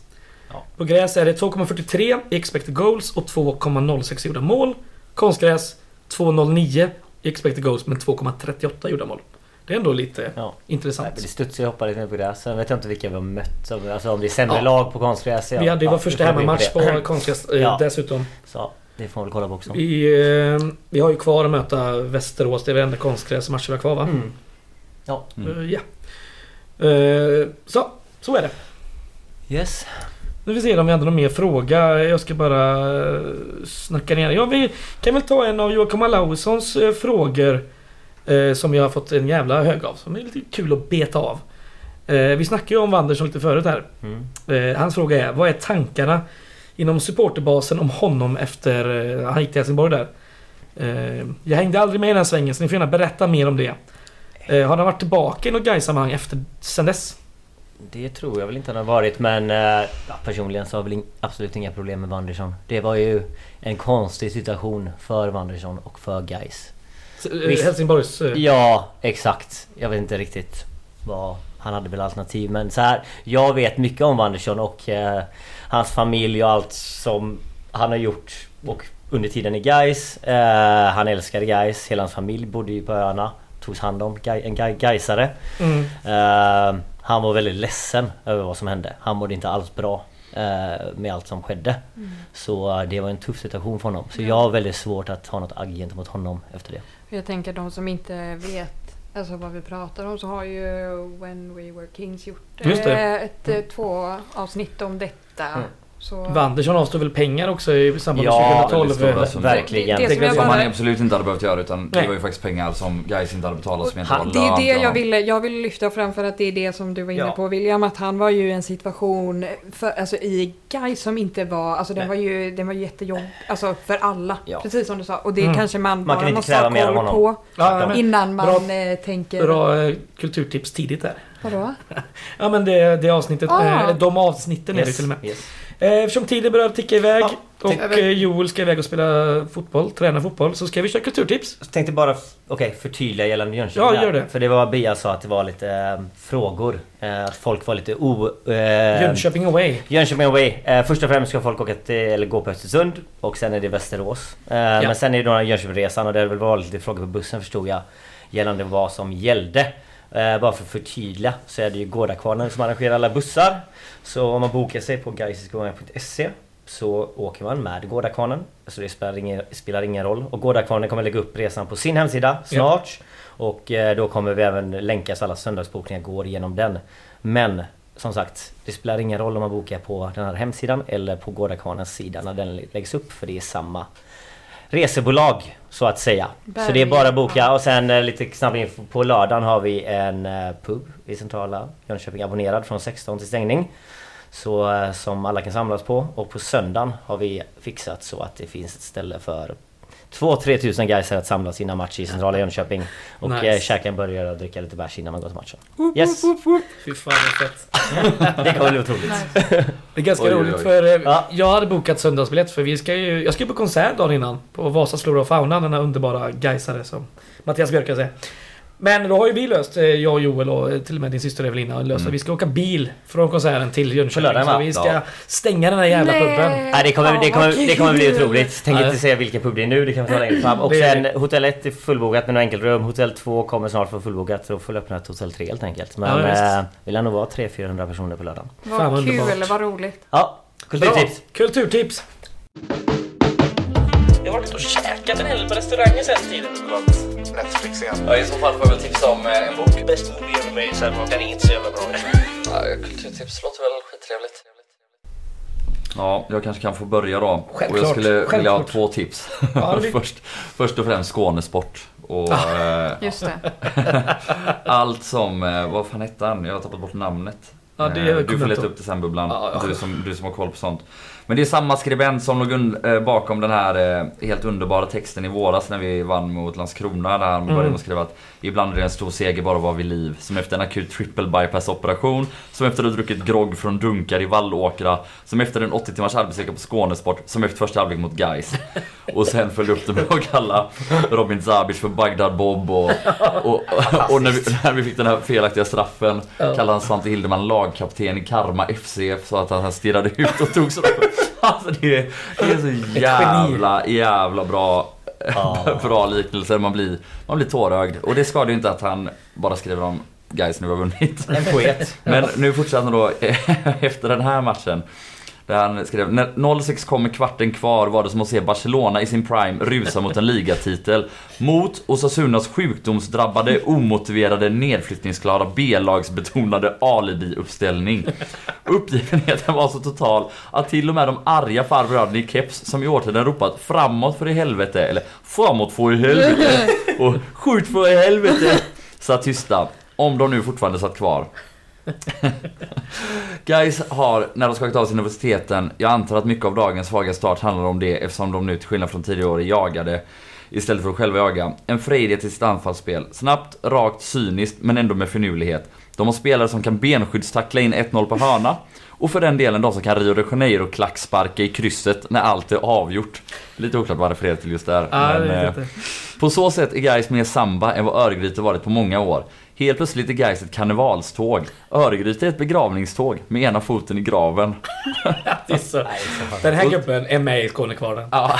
S3: Ja.
S1: På gräs är det 2,43 i expected goals och 2,06 gjorda mål. Konstgräs 2,09 i expected goals men 2,38 gjorda mål. Det är ändå lite
S3: Ja. Nej,
S1: intressant.
S3: men det studsar och hoppar lite mer på gräs. Sen vet jag inte vilka vi har mött. Alltså om det är sämre
S1: Ja.
S3: lag på konstgräs. ja.
S1: Vi hade ju
S3: Ja,
S1: vår
S3: det
S1: första
S3: får bli
S1: hemmamatch
S3: det.
S1: på konstgräs eh,
S3: Ja.
S1: dessutom.
S3: Så det får man väl kolla på också.
S1: Vi, eh, vi har ju kvar att möta Västerås. Det är den enda konstgräsmatch vi har kvar va?
S3: Mm. Ja.
S2: Mm.
S1: Eh, Ja. Eh, så, så är det.
S3: Yes.
S1: Nu får vi se om vi hade någon mer fråga. Jag ska bara eh, snacka ner. Ja, vi kan väl ta en av Joakim Alaussons eh, frågor. Eh, som jag har fått en jävla hög av. Som är lite kul att beta av. Eh, vi snackade ju om Wanderson lite förut här.
S3: Mm.
S1: Eh, hans fråga är, vad är tankarna inom supporterbasen om honom efter eh, han gick till Helsingborg där? Eh, jag hängde aldrig med i den svängen så ni får gärna berätta mer om det. Eh, har han varit tillbaka i något Gais-sammanhang efter sen dess?
S3: Det tror jag väl inte han har varit men eh, ja, personligen så har jag väl in, absolut inga problem med Wanderson. Det var ju en konstig situation för Wanderson och för Gais.
S1: S- eh,
S3: Visst.
S1: Helsingborgs... eh,
S3: Ja, exakt. Jag vet inte riktigt vad han hade väl alternativ men så här. Jag vet mycket om Wanderson och eh, hans familj och allt som han har gjort och under tiden i Gais. Eh, han älskade Gais. Hela hans familj bodde ju på öarna. Togs hand om. Gai- En Gai- Gaisare.
S1: Mm.
S3: Eh, han var väldigt ledsen över vad som hände. Han mådde inte alls bra eh, med allt som skedde. Så eh, det var en tuff situation för honom. Så jag har väldigt svårt att ha något agg gentemot honom efter det.
S4: Jag tänker de som inte vet alltså vad vi pratar om så har ju When We Were Kings gjort
S1: Just det.
S4: eh, ett eh, två avsnitt om detta.
S3: Mm.
S4: Så,
S1: Wanderson avstod väl pengar också i samband med
S3: Ja,
S2: väldigt
S1: 2012?
S2: stora.
S3: Ver- verkligen.
S4: Det- det som jag
S2: Som
S4: bara-
S2: man absolut inte hade behövt göra utan
S1: Nej.
S2: det var ju faktiskt pengar som guys inte hade betalat som inte
S3: Han-
S2: var
S4: Det är
S2: lön till
S4: det jag
S2: honom.
S4: ville, jag ville lyfta fram för att det är det som du var inne
S3: Ja.
S4: på William. Att han var ju i en situation för, alltså, i Guy som inte var, alltså den
S3: Nej.
S4: var ju den var ju jättejobb, alltså för alla.
S3: Ja.
S4: Precis som du sa. Och det
S1: Mm.
S4: kanske man,
S3: Man
S4: bara
S3: kan inte
S4: måste
S3: kräva
S4: ha
S3: mer av
S4: koll
S3: honom.
S4: på
S1: Ja, men,
S4: innan
S1: Bra-
S4: man eh, tänker...
S1: bra eh, kulturtips tidigt där.
S4: Vadå?
S1: Ja men det, det avsnittet,
S4: Ah.
S1: eh, de avsnitten är det till och med.
S3: yes.
S1: Eh, Eftersom tiden börjar ticka iväg
S3: Ja,
S1: och
S3: tick-
S1: eh, Joel ska iväg och spela fotboll, träna fotboll, så ska vi köra kulturtips.
S3: Jag tänkte bara f- okej, förtydliga gällande Jönköping.
S1: Ja,
S3: där.
S1: gör det.
S3: För det var Bia sa att det var lite eh, frågor. Eh, att folk var lite o... Eh,
S1: Jönköping away.
S3: Jönköping away. Eh, först och främst ska folk åka till, eller gå på Östersund och sen är det Västerås. Eh, Men sen är det då Jönköpingresan och det hade väl varit lite frågor på bussen förstod jag. Gällande vad som gällde. Eh, bara för att förtydliga så är det ju Gårdakvarnen som arrangerar alla bussar. Så om man bokar sig på gaisisgångar.se så åker man med Gårdakvarnen. Så det spelar ingen, spelar ingen roll. Och Gårdakvarnen kommer lägga upp resan på sin hemsida snart. Och eh, då kommer vi även länka så alla söndagsbokningar går genom den. Men som sagt, det spelar ingen roll om man bokar på den här hemsidan eller på Gårdakvarnens sida när den läggs upp för det är samma resebolag så att säga. Så det är bara att boka och sen eh, lite snabb info. På lördagen har vi en eh, pub i centrala Jönköping abonnerad från 16 till stängning. Så eh, som alla kan samlas på och på söndagen har vi fixat så att det finns ett ställe för 2-3 tusen guys att samlas innan match i centrala Jönköping. Och
S1: Nice.
S3: eh, käka en burgare och dricka lite bärs innan man går till matchen. Yes!
S1: Fy fan vad fett.
S3: Det kommer bli otroligt.
S1: Det är ganska
S2: Oj, oj, oj.
S1: roligt för eh,
S3: Ja.
S1: jag hade bokat söndagsbiljett för vi ska ju, jag ska ju på konsert dagen innan. På Vasa Flora och Fauna, denna underbara Gaisare som Mattias Björk säger. Men då har ju vi löst, eh, jag och Joel och eh, till och med din syster Evelina har löst att vi ska åka bil från konserten till Jönköping.
S3: lördagen,
S1: så
S3: va?
S1: vi ska
S2: Ja.
S1: stänga den här jävla puben.
S3: Nej, det, kommer, det, kommer, det kommer bli otroligt. Tänk
S1: Ja.
S3: inte säga vilken pub det är nu, det kan vi ta längre fram. Och
S1: Det är
S3: sen hotell 1 är fullbokat med några enkelrum. Hotell 2 kommer snart vara fullbokat. Så får vi öppna ett hotell 3 helt enkelt. Men
S1: Ja, visst.
S3: eh, vi lär nog vara 300-400 personer på lördagen.
S1: Fan,
S4: Vad
S1: vad
S4: kul,
S1: underbart.
S4: vad roligt.
S3: Ja, kulturtips!
S1: Kulturtips! Jag har varit och käkat en hel del på restauranger senaste tiden.
S6: Netflix igen.
S2: Ja, I så fall får jag väl tipsa om eh, en bok.
S7: bäst hon lever med i Selma. Den är inte så jävla bra.
S2: Ja, kulturtips låter väl skittrevligt. Ja, jag kanske kan få börja då.
S1: Självklart,
S2: Och jag skulle vilja ha
S1: självklart.
S2: två tips.
S1: Ja, det-
S2: först, först och främst Skånesport. Och eh,
S4: Just det.
S2: allt som, eh, vad fan hette han? Jag har tappat bort namnet.
S1: Ja, det är
S2: Eh, du får leta
S1: kommentator.
S2: upp det sen Bubblan,
S1: Ja, ja.
S2: Du, som, du som har koll på sånt. Men det är samma skribent som låg un- eh, bakom den här eh, helt underbara texten i våras när vi vann mot Landskrona. Där han
S1: Mm.
S2: började med att skriva att ibland är det en stor seger bara att vara vid liv. Som efter en akut triple bypass operation, som efter att ha druckit grogg från dunkar i Vallåkra, som efter en 80 timmars arbetsvecka på Skånesport, som efter första halvlek mot Gais Och sen följde upp det med att kalla Robin Zabic för Bagdad Bob och, och, och, när, vi, när vi fick den här felaktiga straffen kallade han Svante Hildeman lagkapten i Karma FC så att han stirrade ut och tog straffen. Alltså det är, det är så jävla, jävla bra
S3: Ja.
S2: bra liknelser. Man blir, man blir tårögd. Och det skadar ju inte att han bara skriver om guys nu har vunnit.
S3: En poet.
S2: Men nu fortsätter han då efter den här matchen. Där han skrev när 06 kom med kvarten kvar var det som att se Barcelona i sin prime rusa mot en ligatitel mot Osasunas sjukdomsdrabbade, omotiverade, nedflyttningsklara B-lagsbetonade alibi-uppställning. Uppgivenheten var så total att till och med de arga farbröderna i keps som i årtionden ropat framåt för i helvete eller framåt för i helvete och skjut för i helvete satt tysta. Om de nu fortfarande satt kvar. Guys har, när de skakit av sig universiteten, jag antar att mycket av dagens svaga start handlar om det eftersom de nu till skillnad från tidigare år är jagade istället för att själva jaga. En frejdighet i sitt anfallsspel. Snabbt, rakt, cyniskt men ändå med finurlighet. De har spelare som kan benskyddstackla in 1-0 på hörna och för den delen de som kan Rio de Janeiro-klacksparka i krysset när allt är avgjort. Lite oklart vad han refererar till just där.
S1: Ja, jag
S2: men,
S1: vet
S2: eh,
S1: inte.
S2: på så sätt är Gais mer samba än vad Örgryte varit på många år. Helt plötsligt är Gais ett karnevalståg. Örgryte är ett begravningståg med ena foten i graven.
S1: Det är så. Den här gubben är med i Skånekvarnen.
S2: Ja.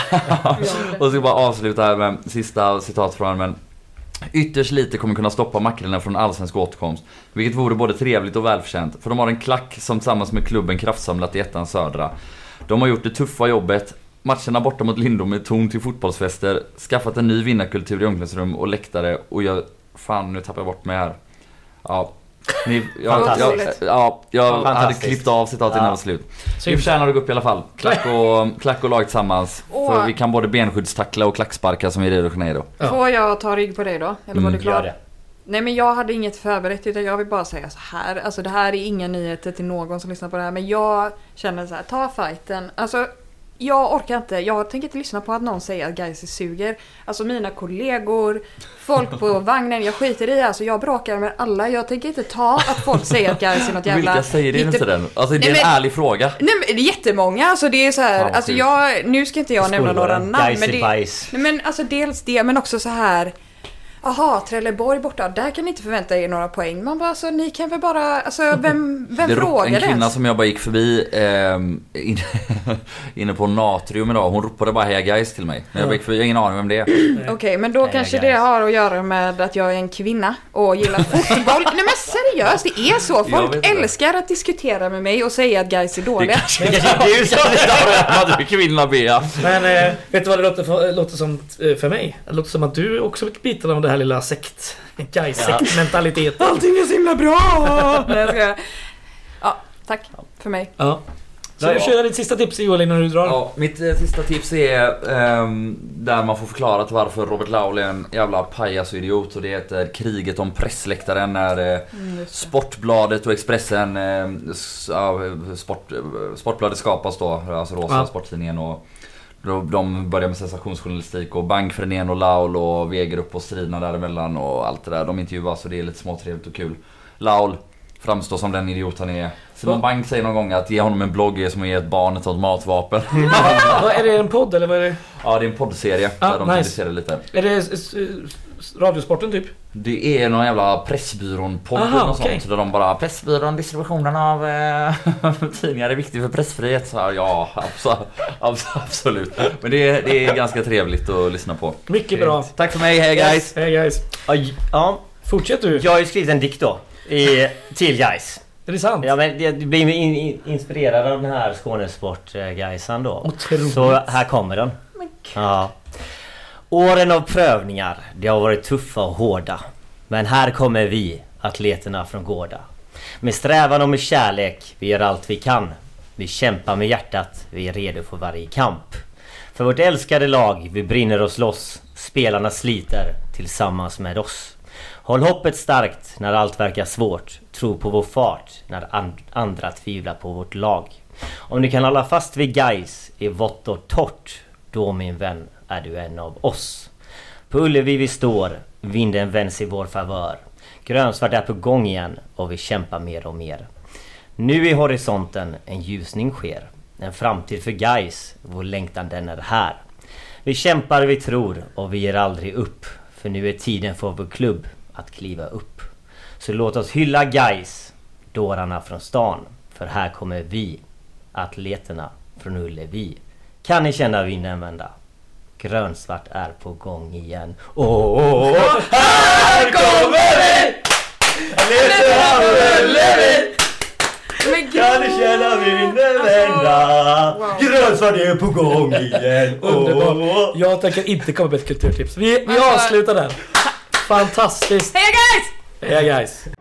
S2: Och så bara avsluta här med sista citat från honom, men Ytterst lite kommer kunna stoppa Makrillen från allsvensk återkomst. Vilket vore både trevligt och välförtjänt. För de har en klack som tillsammans med klubben kraftsamlat i ettan södra. De har gjort det tuffa jobbet. Matcherna borta mot Lindom är tomt till fotbollsfester. Skaffat en ny vinnarkultur i omklädningsrum och läktare. Och jag... Fan, nu tappar jag bort mig här. Ja. Ni, jag, jag,
S4: Fantastiskt.
S2: ja, jag hade
S3: Fantastiskt.
S2: klippt av citatet innan det var slut. Vi förtjänar att gå Typ upp i alla fall. Klack och, klack och lag tillsammans.
S4: Åh.
S2: För vi kan både bensskyddstackla och klacksparka som i Rio de Janeiro.
S1: Ja.
S4: Får jag ta rygg på dig då? Eller var
S2: Mm,
S4: du
S3: Gör
S4: klar?
S3: det.
S4: Nej men jag hade inget förberett utan jag vill bara säga så här. Alltså det här är inga nyheter till någon som lyssnar på det här men jag känner så här, ta fighten. Alltså jag orkar inte, jag tänker inte lyssna på att någon säger att Gais suger. Alltså mina kollegor, folk på vagnen, jag skiter i alltså jag bråkar med alla. Jag tänker inte ta att folk säger att Gais är något jävla...
S2: Vilka säger det nu
S4: hitte-
S2: för tiden? Alltså det är
S4: Nej,
S2: en
S4: men-
S2: ärlig fråga.
S4: Nej men det är jättemånga, alltså det är så här,
S2: Fan, vad
S4: alltså
S2: kul.
S4: jag, nu ska inte jag nämna några namn
S3: Guys
S4: men
S3: i
S4: det,
S3: bajs.
S4: Nej men alltså dels det men också så här Aha, Trelleborg borta, där kan ni inte förvänta er några poäng. Man bara alltså ni kan väl bara, alltså vem, vem
S2: Det ro-
S4: frågar
S2: en kvinna
S4: ens?
S2: som jag bara gick förbi ehm, in, inne på Natrium idag, hon ropade bara heja guys till mig. När jag bara gick förbi, jag har ingen aning vem det är.
S4: Okej men då
S3: Nej,
S4: kanske
S3: guys.
S4: det har att göra med att jag är en kvinna och gillar fotboll. Nej men seriöst, det är så.
S2: Jag vet
S4: Folk
S2: inte.
S4: älskar att diskutera med mig och säga att guys är
S2: Det
S4: dåliga.
S2: kanske är du som är du är kvinna Bea.
S1: Men eh, vet du vad det låter, för, låter som eh, för mig? Det låter som att du också fick biten av det här lilla sekt... Gais-sektmentaliteten.
S4: Allting är så himla bra! Nej jag skojar. Ja, tack för mig.
S1: Ja. Så
S2: Där
S1: du
S2: ja.
S1: kör ditt sista tips Joel innan du drar.
S2: Ja, mitt eh, sista tips är ehm, där man får förklarat varför Robert Laul är en jävla pajasidiot och det heter kriget om pressläktaren när eh, Sportbladet och Expressen, eh, s- ja, sport, eh, Sportbladet skapas då, alltså Rosa
S1: Ja.
S2: Sporttidningen och då- de börjar med sensationsjournalistik och Bankfrenén och Laul och Wegerup och striderna däremellan och allt det där. De intervjuas och det är lite småtrevligt och kul. Laul framstår som den idiot han är. Simon Bank säger någon gång att ge honom en blogg är som att ge ett barn ett automatvapen.
S1: Vad, är det en podd eller vad är det?
S2: Ja, det är en poddserie
S1: Ah,
S2: där de
S1: nice.
S2: publicerar lite.
S1: Är det s- s- s- Radiosporten typ?
S2: Det är någon jävla Pressbyrån-podd eller
S1: Aha,
S2: något
S1: okej.
S2: sånt där de bara Pressbyrån, distributionen av eh, tidningar är viktig för pressfrihet. Så här, ja, abso- abso- absolut. Men det är, det är ganska trevligt att lyssna på.
S1: Mycket bra.
S2: Tack för mig, hej guys!
S1: Hej guys.
S3: Aj, Ja,
S1: Fortsätt du.
S3: jag har ju skrivit en dikt då. I, till Gais.
S1: Är det sant?
S3: Ja, men jag blir in, in, inspirerad av den här Skånesport-gaisan då.
S1: Otroligt.
S3: Så här kommer den. Ja. Åren av prövningar, de har varit tuffa och hårda. Men här kommer vi, atleterna från Gårda. Med strävan och med kärlek, vi gör allt vi kan. Vi kämpar med hjärtat, vi är redo för varje kamp. För vårt älskade lag, vi brinner och slåss. Spelarna sliter tillsammans med oss. Håll hoppet starkt när allt verkar svårt. Tro på vår fart när an- andra tvivlar på vårt lag. Om du kan hålla fast vid guys i vått och torrt, då min vän är du en av oss. På Ullevi vi står, vinden vänds i vår favör. Grönsvart är på gång igen och vi kämpar mer och mer. Nu i horisonten en ljusning sker. En framtid för guys, vår längtan den är här. Vi kämpar, vi tror och vi ger aldrig upp. För nu är tiden för vår klubb att kliva upp. Så låt oss hylla guys, dårarna från stan. För här kommer vi, atleterna från Ullevi. Kan ni känna vinden vända? Grönsvart är på gång igen. Åh, åh, åh. här kommer vi! Atleterna från Ullevi!
S4: Men
S3: Kan du känna vinden vända?
S4: Wow.
S3: Grönsvart är på gång igen.
S1: Underbart.
S3: Åh.
S1: Jag tänker inte komma med ett kulturtips. Vi, vi
S4: Alltså-
S1: avslutar där. Fantastiskt.
S4: Hej guys!
S1: Heja guys!